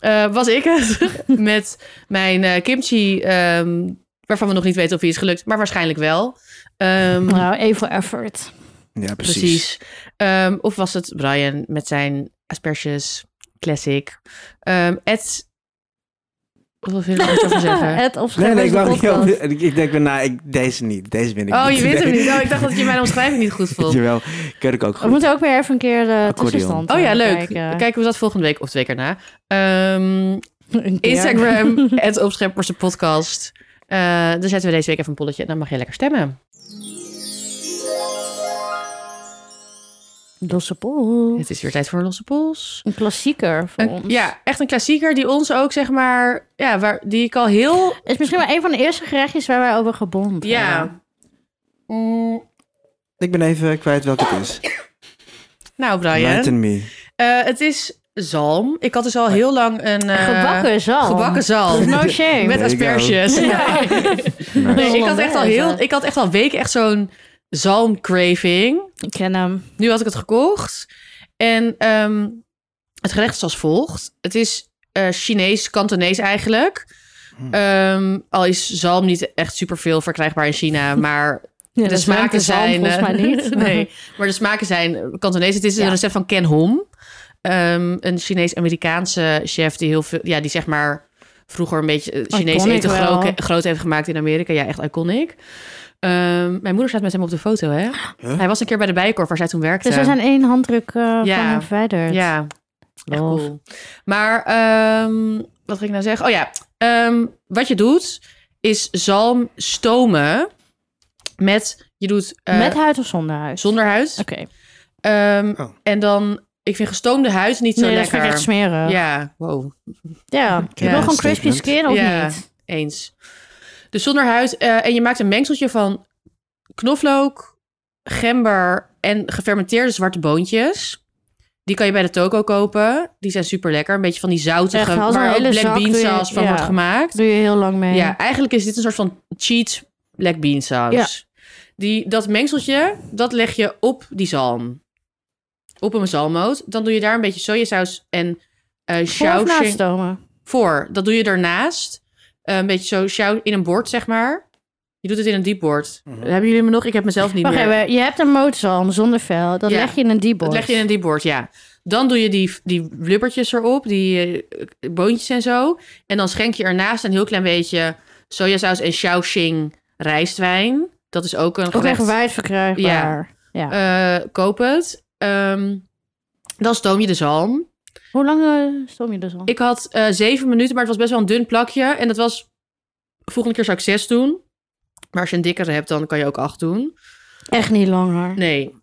Speaker 1: Eh, was ik het met mijn eh, kimchi... ehm, waarvan we nog niet weten of die is gelukt. Maar waarschijnlijk wel. Ehm,
Speaker 3: Nou, even voor effort.
Speaker 2: Ja,
Speaker 1: precies.
Speaker 2: precies.
Speaker 1: Ehm, of was het Brian met zijn asperges? Classic. Ehm Ed... Wat wil je er nog iets over zeggen?
Speaker 3: Ah, Het
Speaker 2: Nee,
Speaker 3: opschrijven
Speaker 2: nee, ik
Speaker 3: is een
Speaker 2: wou niet
Speaker 3: podcast.
Speaker 2: over- Ik, ik denk, ben, nou, ik, deze niet. Deze win ik
Speaker 1: Oh,
Speaker 2: niet.
Speaker 1: je weet hem
Speaker 2: Nee.
Speaker 1: niet. Oh, ik dacht dat je mijn omschrijving niet goed vond.
Speaker 2: Jawel, keur ik ook
Speaker 3: We
Speaker 2: goed.
Speaker 3: moeten ook weer even een keer de
Speaker 2: Accordeon.
Speaker 3: tussenstand
Speaker 1: Oh ja,
Speaker 3: eh,
Speaker 1: leuk.
Speaker 3: kijken.
Speaker 1: Kijken we dat volgende week of twee keer na. Ehm,
Speaker 3: Een keer.
Speaker 1: Instagram, het Opschepperse podcast. Eh dan zetten we deze week even een polletje en dan mag je lekker stemmen.
Speaker 3: Losse Pool.
Speaker 1: Het is weer tijd voor een losse pols.
Speaker 3: Een klassieker voor
Speaker 1: Een-
Speaker 3: ons.
Speaker 1: ja, echt een klassieker die ons ook, zeg maar, ja, waar, die ik al heel...
Speaker 3: Het is misschien wel een van de eerste gerechtjes waar wij over gebond hebben.
Speaker 1: Ja. Mm,
Speaker 2: Ik ben even kwijt welke het is.
Speaker 1: Nou, Brian.
Speaker 2: Enlighten me.
Speaker 1: eh, het is zalm. Ik had dus al heel lang een... eh,
Speaker 3: Gebakken zalm.
Speaker 1: Gebakken zalm.
Speaker 3: No shame.
Speaker 1: Met
Speaker 2: There you go.
Speaker 1: asperges.
Speaker 3: Ja.
Speaker 1: Nee, ik, had echt al heel,
Speaker 3: Hollandaise.
Speaker 1: ik had echt al weken echt zo'n zalmcraving.
Speaker 3: Ik ken hem.
Speaker 1: Nu had ik het gekocht. En ehm, het gerecht is als volgt. Het is eh, Chinees, Kantonees eigenlijk.
Speaker 2: Hmm.
Speaker 1: Ehm, al is zalm niet echt superveel verkrijgbaar in China. Maar
Speaker 3: Ja,
Speaker 1: de smaken zijn...
Speaker 3: Volgens mij
Speaker 1: eh,
Speaker 3: niet.
Speaker 1: nee, maar de smaken zijn Kantonees. Het is
Speaker 3: Ja.
Speaker 1: een recept van Ken Hom. Ehm, een Chinees-Amerikaanse chef die heel veel... Ja, die zeg maar vroeger een beetje eh, Chinees
Speaker 3: Iconic
Speaker 1: eten
Speaker 3: wel.
Speaker 1: groot, groot heeft gemaakt in Amerika. Ja, echt iconic. Ehm, mijn moeder staat met hem op de foto, hè?
Speaker 2: Huh?
Speaker 1: Hij was een keer bij de Bijenkorf waar zij toen werkte.
Speaker 3: Dus we zijn één handdruk eh,
Speaker 1: Ja.
Speaker 3: van hem verwijderd.
Speaker 1: Ja, echt
Speaker 3: Love.
Speaker 1: cool. Maar ehm, wat ging ik nou zeggen? Oh ja, ehm, wat je doet is zalm stomen met, je doet eh,
Speaker 3: Met huid of zonder huid?
Speaker 1: zonder huid.
Speaker 3: Oké.
Speaker 1: Ehm,
Speaker 2: Oh.
Speaker 1: En dan, ik vind gestoomde huid niet zo
Speaker 3: Nee, dat
Speaker 1: lekker.
Speaker 3: vind ik echt smerig. Ja.
Speaker 1: ja, wow,
Speaker 3: Je wil gewoon crispy
Speaker 2: statement.
Speaker 3: skin of
Speaker 1: Ja.
Speaker 3: niet?
Speaker 1: eens. Dus zonder huid eh, en je maakt een mengseltje van knoflook, gember en gefermenteerde zwarte boontjes. Die kan je bij de toko kopen. Die zijn super lekker. Een beetje van die zoutige,
Speaker 3: Echt,
Speaker 1: waar
Speaker 3: als een
Speaker 1: ook
Speaker 3: hele
Speaker 1: black
Speaker 3: zak
Speaker 1: bean
Speaker 3: doe je-
Speaker 1: saus van
Speaker 3: ja.
Speaker 1: wordt gemaakt.
Speaker 3: Doe je heel lang mee.
Speaker 1: Ja, eigenlijk is dit een soort van cheat black bean saus.
Speaker 3: Ja.
Speaker 1: Die, dat mengseltje, dat leg je op die zalm. Op een zalmmoot. Dan doe je daar een beetje sojasaus en eh
Speaker 3: Voor of na het
Speaker 1: Shaoxing
Speaker 3: stomen?
Speaker 1: voor. Dat doe je daarnaast. Eh, een beetje zo sjouw- in een bord, zeg maar. Je doet het in een diepbord.
Speaker 2: Mhm.
Speaker 1: Hebben jullie me nog? Ik heb mezelf niet
Speaker 3: Wacht
Speaker 1: meer.
Speaker 3: even, je hebt een mootzalm zonder vel. Dat
Speaker 1: Ja.
Speaker 3: leg je in een diepbord.
Speaker 1: Dat leg je in een diepbord, ja. Dan doe je die, die blubbertjes erop, die eh, boontjes en zo. En dan schenk je ernaast een heel klein beetje sojasaus en Shaoxing rijstwijn. Dat is ook een
Speaker 3: Ook
Speaker 1: gerecht.
Speaker 3: echt wijd verkrijgbaar. Ja.
Speaker 1: Eh, koop het. Ehm, dan stoom je de zalm.
Speaker 3: Hoe lang eh, stoom je dus al?
Speaker 1: Ik had eh, zeven minuten, maar het was best wel een dun plakje. En dat was... Volgende keer zou ik zes doen. Maar als je een dikkere hebt, dan kan je ook acht doen.
Speaker 3: Echt niet langer.
Speaker 1: Nee.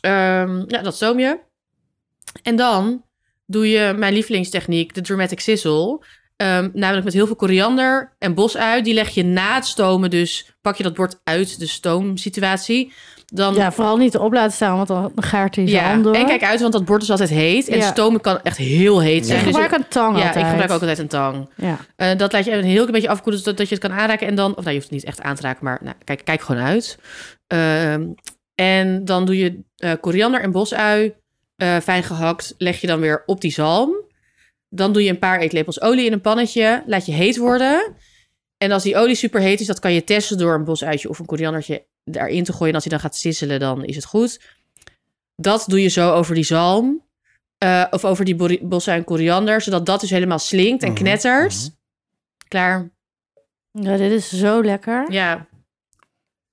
Speaker 1: Ehm, ja, dat stoom je. En dan doe je mijn lievelingstechniek, de dramatic sizzle. Ehm, namelijk met heel veel koriander en bosui. Die leg je na het stomen, dus pak je dat bord uit de stoomsituatie. Dan
Speaker 3: Ja, vooral niet op laten staan, want dan gaart hij zijn
Speaker 1: ja,
Speaker 3: hand door.
Speaker 1: en kijk uit, want dat bord is altijd heet. En
Speaker 3: Ja.
Speaker 1: stomen kan echt heel heet
Speaker 3: Ik
Speaker 1: zijn. Dus
Speaker 3: gebruik een tang
Speaker 1: ja,
Speaker 3: altijd.
Speaker 1: ik gebruik ook altijd een tang.
Speaker 3: Ja.
Speaker 1: Eh, dat laat je een heel klein beetje afkoelen, zodat dat je het kan aanraken. En dan, of nou, je hoeft het niet echt aan te raken, maar nou, kijk, kijk gewoon uit. Ehm, en dan doe je eh, koriander en bosui, eh, fijn gehakt, leg je dan weer op die zalm. Dan doe je een paar eetlepels olie in een pannetje, laat je heet worden. En als die olie super heet is, dat kan je testen door een bosuitje of een koriandertje daarin te gooien. En als hij dan gaat sisselen, dan is het goed. Dat doe je zo over die zalm. eh, of over die bori- bosui en koriander, zodat dat dus helemaal slinkt en
Speaker 2: Mhm,
Speaker 1: knettert.
Speaker 2: mhm.
Speaker 1: Klaar.
Speaker 3: Ja, dit is zo lekker.
Speaker 1: Ja,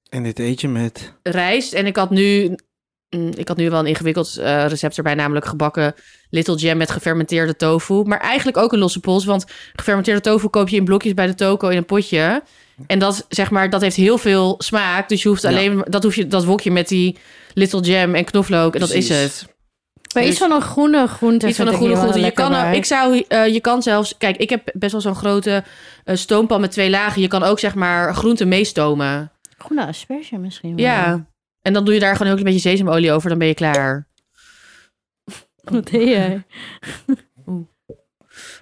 Speaker 2: En dit eet je met...
Speaker 1: rijst. En ik had nu, mm, ik had nu wel een ingewikkeld eh, recept erbij, namelijk gebakken little jam met gefermenteerde tofu. Maar eigenlijk ook een losse pols, want gefermenteerde tofu koop je in blokjes bij de toko in een potje. En dat, zeg maar, dat heeft heel veel smaak. Dus je hoeft
Speaker 2: Ja.
Speaker 1: alleen dat, hoef je, dat wokje met die little jam en knoflook. En dat is
Speaker 2: Precies.
Speaker 1: het.
Speaker 3: Maar iets
Speaker 1: Dus-
Speaker 3: van een groene groente
Speaker 1: Iets van een
Speaker 3: vind
Speaker 1: groene
Speaker 3: ik
Speaker 1: groente.
Speaker 3: hier wel
Speaker 1: Je
Speaker 3: lekker
Speaker 1: kan, ook-
Speaker 3: bij.
Speaker 1: ik zou, eh, je kan zelfs... Kijk, ik heb best wel zo'n grote eh, stoompan met twee lagen. Je kan ook, zeg maar, groenten meestomen.
Speaker 3: Groene asperge misschien wel.
Speaker 1: Ja. En dan doe je daar gewoon een heel klein beetje sesamolie over, dan ben je klaar.
Speaker 3: Wat deed jij?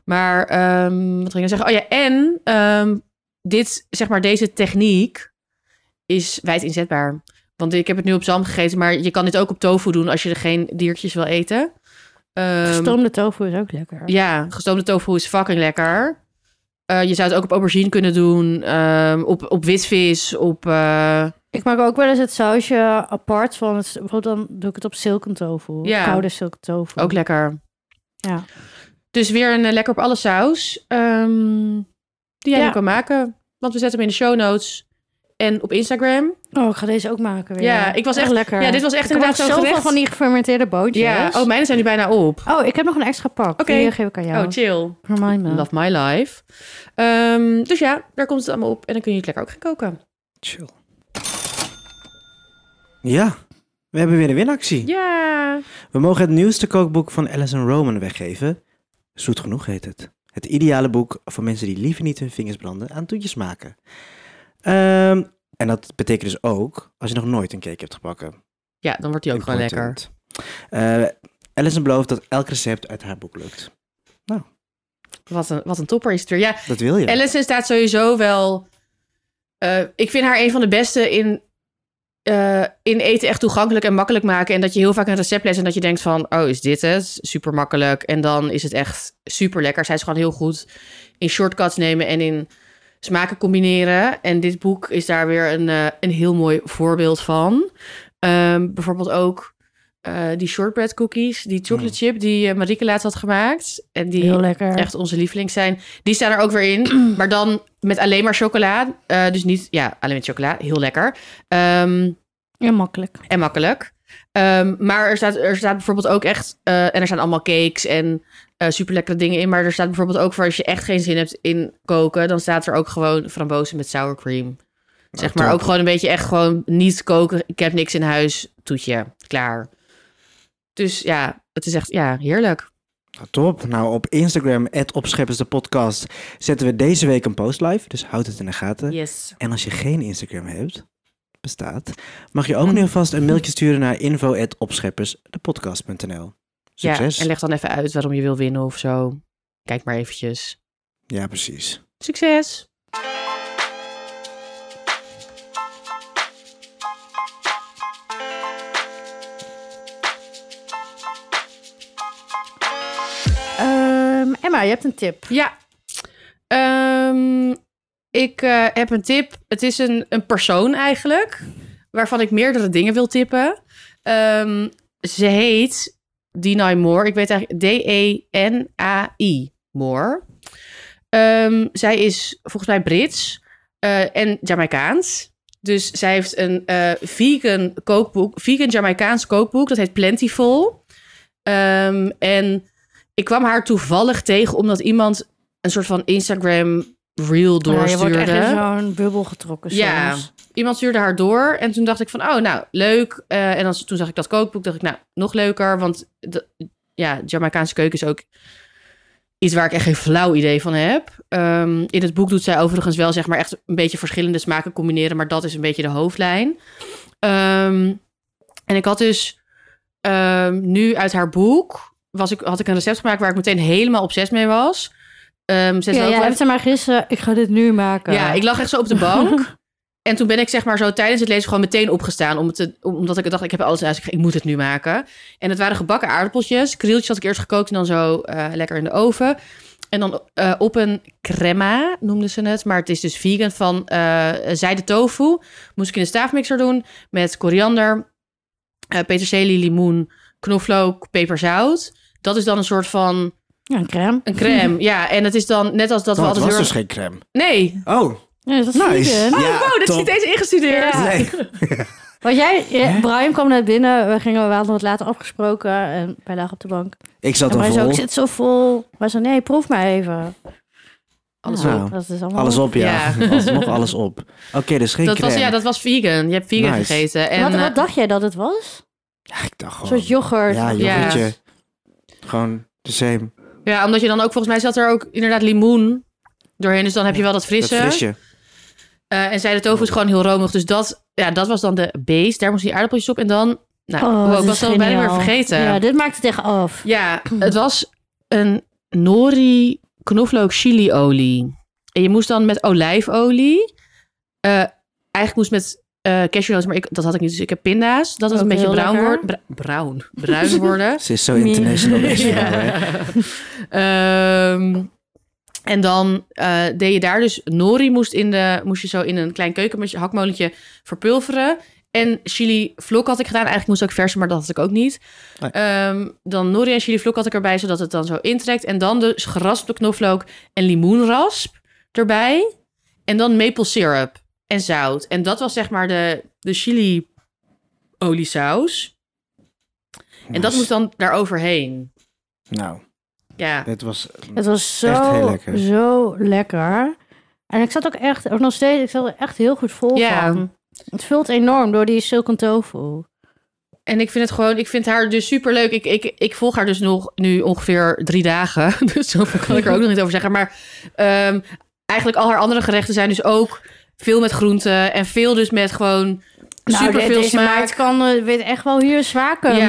Speaker 1: Maar ehm, wat ging ik nou zeggen? Oh ja, en ehm, dit, zeg maar, deze techniek is wijd inzetbaar. Want ik heb het nu op zalm gegeten, maar je kan dit ook op tofu doen als je er geen diertjes wil eten. Ehm,
Speaker 3: Gestoomde tofu is ook lekker.
Speaker 1: Ja, gestoomde tofu is fucking lekker. Eh, je zou het ook op aubergine kunnen doen, ehm, op, op witvis, op... eh,
Speaker 3: Ik maak ook wel eens het sausje apart van het... Bijvoorbeeld dan doe ik het op silken tofu.
Speaker 1: Ja.
Speaker 3: Koude silken tofu.
Speaker 1: ook lekker.
Speaker 3: Ja.
Speaker 1: Dus weer een eh, lekker op alle saus. ehm, die jij
Speaker 3: Ja.
Speaker 1: nu kan maken. Want we zetten hem in de show notes. En op Instagram.
Speaker 3: Oh, ik ga deze ook maken weer.
Speaker 1: Ja, ik was echt-
Speaker 3: lekker.
Speaker 1: ja, dit was echt
Speaker 3: ik
Speaker 1: inderdaad
Speaker 3: heb ook
Speaker 1: zo'n
Speaker 3: zoveel
Speaker 1: gerecht.
Speaker 3: van die gefermenteerde bootjes.
Speaker 1: Ja, oh, mijne zijn nu bijna op.
Speaker 3: Oh, ik heb nog een extra pak.
Speaker 1: Oké.
Speaker 3: Die geef ik aan jou.
Speaker 1: Oh, chill.
Speaker 3: Remind me.
Speaker 1: Love my life. Ehm, dus ja, daar komt het allemaal op. En dan kun je het lekker ook gaan koken.
Speaker 2: Chill. Ja, we hebben weer een winactie.
Speaker 1: Ja.
Speaker 2: We mogen het nieuwste kookboek van Alison Roman weggeven. Zoet genoeg heet het. Het ideale boek voor mensen die liever niet hun vingers branden aan toetjes maken. Ehm, en dat betekent dus ook als je nog nooit een cake hebt gebakken.
Speaker 1: Ja, dan wordt die ook gewoon lekker.
Speaker 2: Important. Eh, Alison belooft dat elk recept uit haar boek lukt.
Speaker 1: Wat een, wat een topper is het weer. Ja,
Speaker 2: Dat wil je.
Speaker 1: Allison staat sowieso wel. eh, ik vind haar een van de beste in, eh, in eten echt toegankelijk en makkelijk maken. En dat je heel vaak een recept leest en dat je denkt van, oh, is dit het? Super makkelijk. En dan is het echt super lekker. Zij is gewoon heel goed in shortcuts nemen en in smaken combineren. En dit boek is daar weer een, eh, een heel mooi voorbeeld van. Ehm, bijvoorbeeld ook eh, die shortbread cookies, die
Speaker 2: Mm.
Speaker 1: chocolate chip die eh, Marieke laatst had gemaakt. En die
Speaker 3: Heel lekker.
Speaker 1: echt onze lieveling zijn. Die staan er ook weer in. maar dan met alleen maar chocola. Eh, dus niet, ja, alleen met chocola. Heel lekker. Ehm,
Speaker 3: Ja, makkelijk.
Speaker 1: en makkelijk. Ehm, maar er staat, er staat bijvoorbeeld ook echt... eh, en er staan allemaal cakes en eh super lekkere dingen in. Maar er staat bijvoorbeeld ook voor als je echt geen zin hebt in koken... dan staat er ook gewoon frambozen met sour cream. Zeg maar
Speaker 2: top.
Speaker 1: ook gewoon een beetje echt gewoon niet koken. Ik heb niks in huis. Toetje. Klaar. Dus ja, het is echt ja, heerlijk.
Speaker 2: Nou, Top. Nou, op Instagram, opscheppers de podcast, zetten we deze week een post live. Dus houd het in de gaten.
Speaker 1: Yes.
Speaker 2: En als je geen Instagram hebt, bestaat, mag je ook nu vast een mailtje sturen naar info.opscheppersdepodcast.nl. Succes.
Speaker 1: Ja, en leg dan even uit waarom je wil winnen of zo. Kijk maar eventjes.
Speaker 2: ja precies.
Speaker 1: Succes!
Speaker 3: Ehm, Emma, je hebt een tip.
Speaker 1: Ja. Ehm, ik eh, heb een tip. Het is een, een persoon eigenlijk, waarvan ik meerdere dingen wil tippen. Ehm, ze heet Denai Moore. Ik weet eigenlijk E D-E-N-A-I Moore. Ehm, zij is volgens mij Brits eh, en Jamaicaans. Dus zij heeft een eh, vegan kookboek, vegan Jamaicaans kookboek. Dat heet Plentiful. Ehm, en ik kwam haar toevallig tegen omdat iemand een soort van Instagram reel
Speaker 3: Ja, je wordt
Speaker 1: doorstuurde.
Speaker 3: echt in zo'n bubbel getrokken
Speaker 1: Ja.
Speaker 3: soms.
Speaker 1: Iemand stuurde haar door en toen dacht ik van, oh, nou, leuk. Eh, en dan, toen zag ik dat kookboek, dacht ik, nou, nog leuker. Want de, ja, Jamaicaanse keuken is ook iets waar ik echt geen flauw idee van heb. Ehm, in het boek doet zij overigens wel, zeg maar, echt een beetje verschillende smaken combineren. Maar dat is een beetje de hoofdlijn. Ehm, en ik had dus ehm, nu uit haar boek, was ik, had ik een recept gemaakt waar ik meteen helemaal obsessief mee was. Ehm, ze
Speaker 3: Ja,
Speaker 1: is ook
Speaker 3: jij
Speaker 1: wel
Speaker 3: hebt er maar gisteren, ik ga dit nu maken.
Speaker 1: ja, ik lag echt zo op de bank. en toen ben ik zeg maar zo tijdens het lezen gewoon meteen opgestaan. Om het te, om- omdat ik dacht, ik heb alles in huis. Ik, ik moet het nu maken. En het waren gebakken aardappeltjes. Krieltjes had ik eerst gekookt en dan zo eh, lekker in de oven. En dan eh, op een crema noemden ze het. Maar het is dus vegan van eh zijde tofu. Moest ik in de staafmixer doen met koriander, eh, peterselie, limoen, knoflook, peperzout. Dat is dan een soort van
Speaker 3: Ja, een crème.
Speaker 1: een crème. ja, en het is dan net als dat we
Speaker 2: Oh, het
Speaker 1: altijd
Speaker 2: was
Speaker 1: heel
Speaker 2: dus
Speaker 1: erg-
Speaker 2: geen crème.
Speaker 1: Nee,
Speaker 2: Oh,
Speaker 3: Ja, dat is
Speaker 2: nice.
Speaker 3: vegan.
Speaker 2: Ja,
Speaker 1: Oh, dat is niet eens ingestudeerd.
Speaker 3: Ja.
Speaker 2: Nee.
Speaker 3: Want jij, ja, Brian kwam net binnen, we gingen wel wat later afgesproken en wij lagen op de bank.
Speaker 2: Ik zat
Speaker 3: En
Speaker 2: al
Speaker 3: wij zo,
Speaker 2: vol.
Speaker 3: ik zit zo vol. Wij zo, nee, proef maar even.
Speaker 1: Alles
Speaker 3: Nou,
Speaker 2: op.
Speaker 3: Dat is allemaal
Speaker 2: Alles op, ja.
Speaker 1: Ja.
Speaker 2: Nog alles op. Oké, dus geen
Speaker 1: Dat was,
Speaker 2: crème.
Speaker 1: ja, dat was vegan. Je hebt vegan
Speaker 2: Nice.
Speaker 1: gegeten. En,
Speaker 3: wat, wat
Speaker 1: eh,
Speaker 3: dacht jij dat het was?
Speaker 2: Ja, ik dacht
Speaker 3: Een
Speaker 2: gewoon...
Speaker 3: soort yoghurt.
Speaker 2: Ja,
Speaker 1: Ja.
Speaker 2: yoghurtje. Gewoon de same.
Speaker 1: ja, omdat je dan ook, volgens mij zat er ook inderdaad limoen doorheen. Dus dan heb je wel dat
Speaker 2: Dat Oh.
Speaker 1: frisse.
Speaker 2: frisje.
Speaker 1: Eh, en zij de tofu is gewoon heel romig. Dus dat, ja, dat was dan de base. Daar moesten die aardappeltjes op. En dan, nou,
Speaker 3: Oh,
Speaker 1: wow,
Speaker 3: dat
Speaker 1: ik
Speaker 3: is
Speaker 1: was het al bijna weer
Speaker 3: geniaal.
Speaker 1: vergeten.
Speaker 3: Ja,
Speaker 1: Ja,
Speaker 3: dit maakt het echt af.
Speaker 1: het was een nori knoflook chili olie. En je moest dan met olijfolie. eh, eigenlijk moest met eh cashewnoten, maar ik, dat had ik niet. Dus ik heb pinda's. Dat was
Speaker 3: Ook
Speaker 1: een beetje
Speaker 3: Oh, heel
Speaker 1: bruin
Speaker 3: lekker.
Speaker 1: worden. bra- bruin. Bruin worden.
Speaker 2: Ze is zo
Speaker 3: Meer.
Speaker 2: international. deze
Speaker 1: Ja.
Speaker 2: vrouw, hè.
Speaker 1: Ehm, en dan eh, deed je daar dus nori moest, in de, moest je zo in een klein keukenmesje hakmolentje verpulveren. En chili vlok had ik gedaan. Eigenlijk moest ook verse, maar dat had ik ook niet.
Speaker 2: Nee.
Speaker 1: Ehm, dan nori en chili vlok had ik erbij, zodat het dan zo intrekt. En dan dus geraspte knoflook en limoenrasp erbij. En dan maple syrup en zout. En dat was zeg maar de de chili oliesaus. En dat
Speaker 2: Nice.
Speaker 1: moet dan daaroverheen.
Speaker 2: Nou,
Speaker 1: Ja,
Speaker 2: dit was...
Speaker 3: Het was
Speaker 2: Echt
Speaker 3: zo
Speaker 2: heel
Speaker 3: lekker.
Speaker 2: lekker.
Speaker 3: zo lekker. En ik zat ook echt, ook nog steeds, ik zat er echt heel goed vol
Speaker 1: Ja.
Speaker 3: van. Het vult enorm door die silken tofu. Nou,
Speaker 1: en ik vind het gewoon, ik vind haar dus super leuk. Ik, ik, ik volg haar dus nog nu ongeveer drie dagen. Dus zoveel kan ik er ook nog niet over zeggen. Maar ehm, eigenlijk al haar andere gerechten zijn dus ook veel met groenten. En veel dus met gewoon super veel
Speaker 3: Nou, deze
Speaker 1: smaak.
Speaker 3: meid kan eh, weet echt wel hier zwaken
Speaker 1: Ja.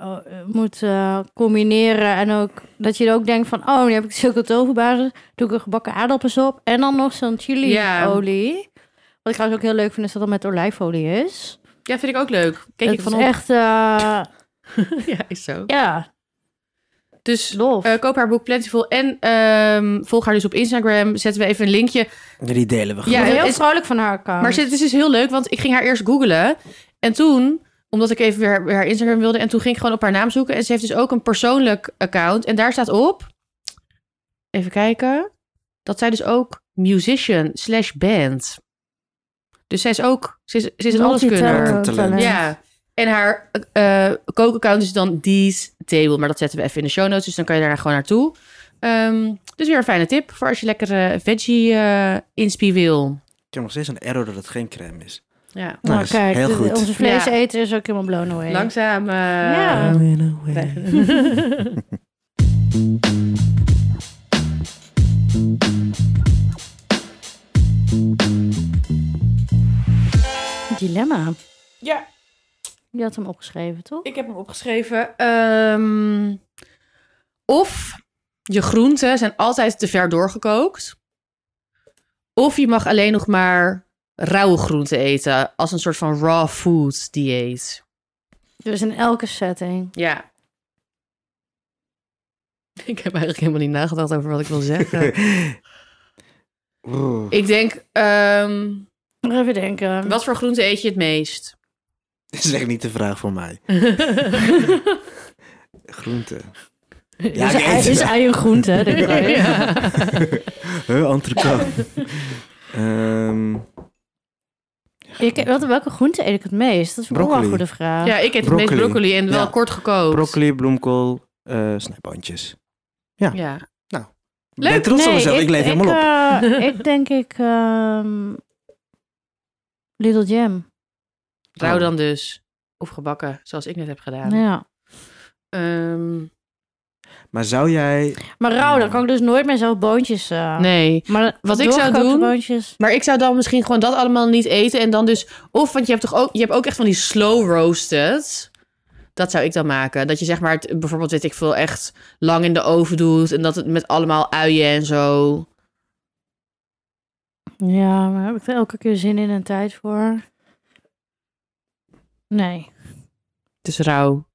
Speaker 3: moet, eh, eh, moet eh, combineren. En ook dat je er ook denkt van, oh, nu heb ik silken tofu basis. Doe ik er gebakken aardappels op. En dan nog zo'n
Speaker 1: Ja.
Speaker 3: chili-olie. Wat ik trouwens ook heel leuk vind, is dat het met olijfolie is.
Speaker 1: Ja, vind ik ook leuk. Kijk
Speaker 3: Het
Speaker 1: ik
Speaker 3: is
Speaker 1: van op.
Speaker 3: echt, eh,
Speaker 1: Ja, is zo.
Speaker 3: ja,
Speaker 1: Dus
Speaker 3: lof.
Speaker 1: eh, koop haar boek Plentiful en ehm, volg haar dus op Instagram. Zetten we even een linkje.
Speaker 2: Die delen we
Speaker 1: ja,
Speaker 3: ik
Speaker 2: gewoon.
Speaker 3: ben heel
Speaker 1: het-
Speaker 3: vrolijk van haar account.
Speaker 1: Maar het is dus heel leuk, want ik ging haar eerst googlen. En toen, omdat ik even weer weer haar Instagram wilde... en toen ging ik gewoon op haar naam zoeken. En ze heeft dus ook een persoonlijk account. En daar staat op... Even kijken. Dat zij dus ook musician slash band. Dus zij is ook... Ze is, ze is een alleskunner.
Speaker 3: Multitalent.
Speaker 2: Talent.
Speaker 1: Ja. En haar eh kookaccount is dan These Table. Maar dat zetten we even in de show notes. Dus dan kan je daar gewoon naartoe. Ehm, dus weer een fijne tip voor als je lekker eh, veggie eh inspi wil.
Speaker 2: Ik heb nog steeds een error dat het geen crème is.
Speaker 1: Ja.
Speaker 3: Nou,
Speaker 2: Nice,
Speaker 3: kijk,
Speaker 2: heel
Speaker 3: de-
Speaker 2: goed.
Speaker 3: onze vleeseter is ook helemaal blown away.
Speaker 1: Langzaam. eh,
Speaker 3: Ja.
Speaker 2: Runaway.
Speaker 3: Dilemma.
Speaker 1: Ja,
Speaker 3: Je had hem opgeschreven, toch?
Speaker 1: ik heb hem opgeschreven. Ehm, of je groenten zijn altijd te ver doorgekookt. Of je mag alleen nog maar rauwe groenten eten. Als een soort van raw food dieet.
Speaker 3: Dus in elke setting.
Speaker 1: Ja. Ik heb eigenlijk helemaal niet nagedacht over wat ik wil zeggen.
Speaker 2: Oeh.
Speaker 1: ik denk, ehm,
Speaker 3: Nog even denken.
Speaker 1: wat voor groenten eet je het meest?
Speaker 2: Dit is echt niet de vraag voor mij. Groente. Ja,
Speaker 3: is,
Speaker 2: ik eet
Speaker 3: ei, is
Speaker 2: ze.
Speaker 3: ei een groente? hè, denk ik.
Speaker 1: Ja.
Speaker 2: Huh, entrecote. Ehm,
Speaker 3: Ik, wat, welke groente eet ik het meest? Dat is ook wel een
Speaker 2: Broccoli.
Speaker 3: goede vraag.
Speaker 1: Ja, ik eet het meest
Speaker 2: Broccoli.
Speaker 1: broccoli en wel
Speaker 2: Ja.
Speaker 1: kort gekookt.
Speaker 2: broccoli, bloemkool, eh snijboontjes. Oh.
Speaker 1: Ja.
Speaker 2: Ik
Speaker 1: Leuk.
Speaker 2: Ben trots op
Speaker 3: Nee,
Speaker 2: mezelf, ik, leef helemaal op.
Speaker 3: eh, ik denk ik... ehm, Little Jam.
Speaker 1: Rauw
Speaker 2: Oh.
Speaker 1: dan dus. Of gebakken, zoals ik net heb gedaan.
Speaker 3: Ja.
Speaker 1: Ehm,
Speaker 2: Maar zou jij...
Speaker 3: Maar rauw, dan kan ik dus nooit meer zelf boontjes... eh,
Speaker 1: nee.
Speaker 3: Maar
Speaker 1: Wat ik zou
Speaker 3: doorgekookte
Speaker 1: doen-
Speaker 3: Boontjes.
Speaker 1: Maar ik zou dan misschien gewoon dat allemaal niet eten. En dan dus... Of, want je hebt toch ook, je hebt ook echt van die slow roasted. Dat zou ik dan maken. Dat je zeg maar het, bijvoorbeeld, weet ik veel, echt lang in de oven doet. En dat het met allemaal uien en zo.
Speaker 3: Ja, maar heb ik er elke keer zin in en tijd voor? Nee.
Speaker 1: Het is rauw.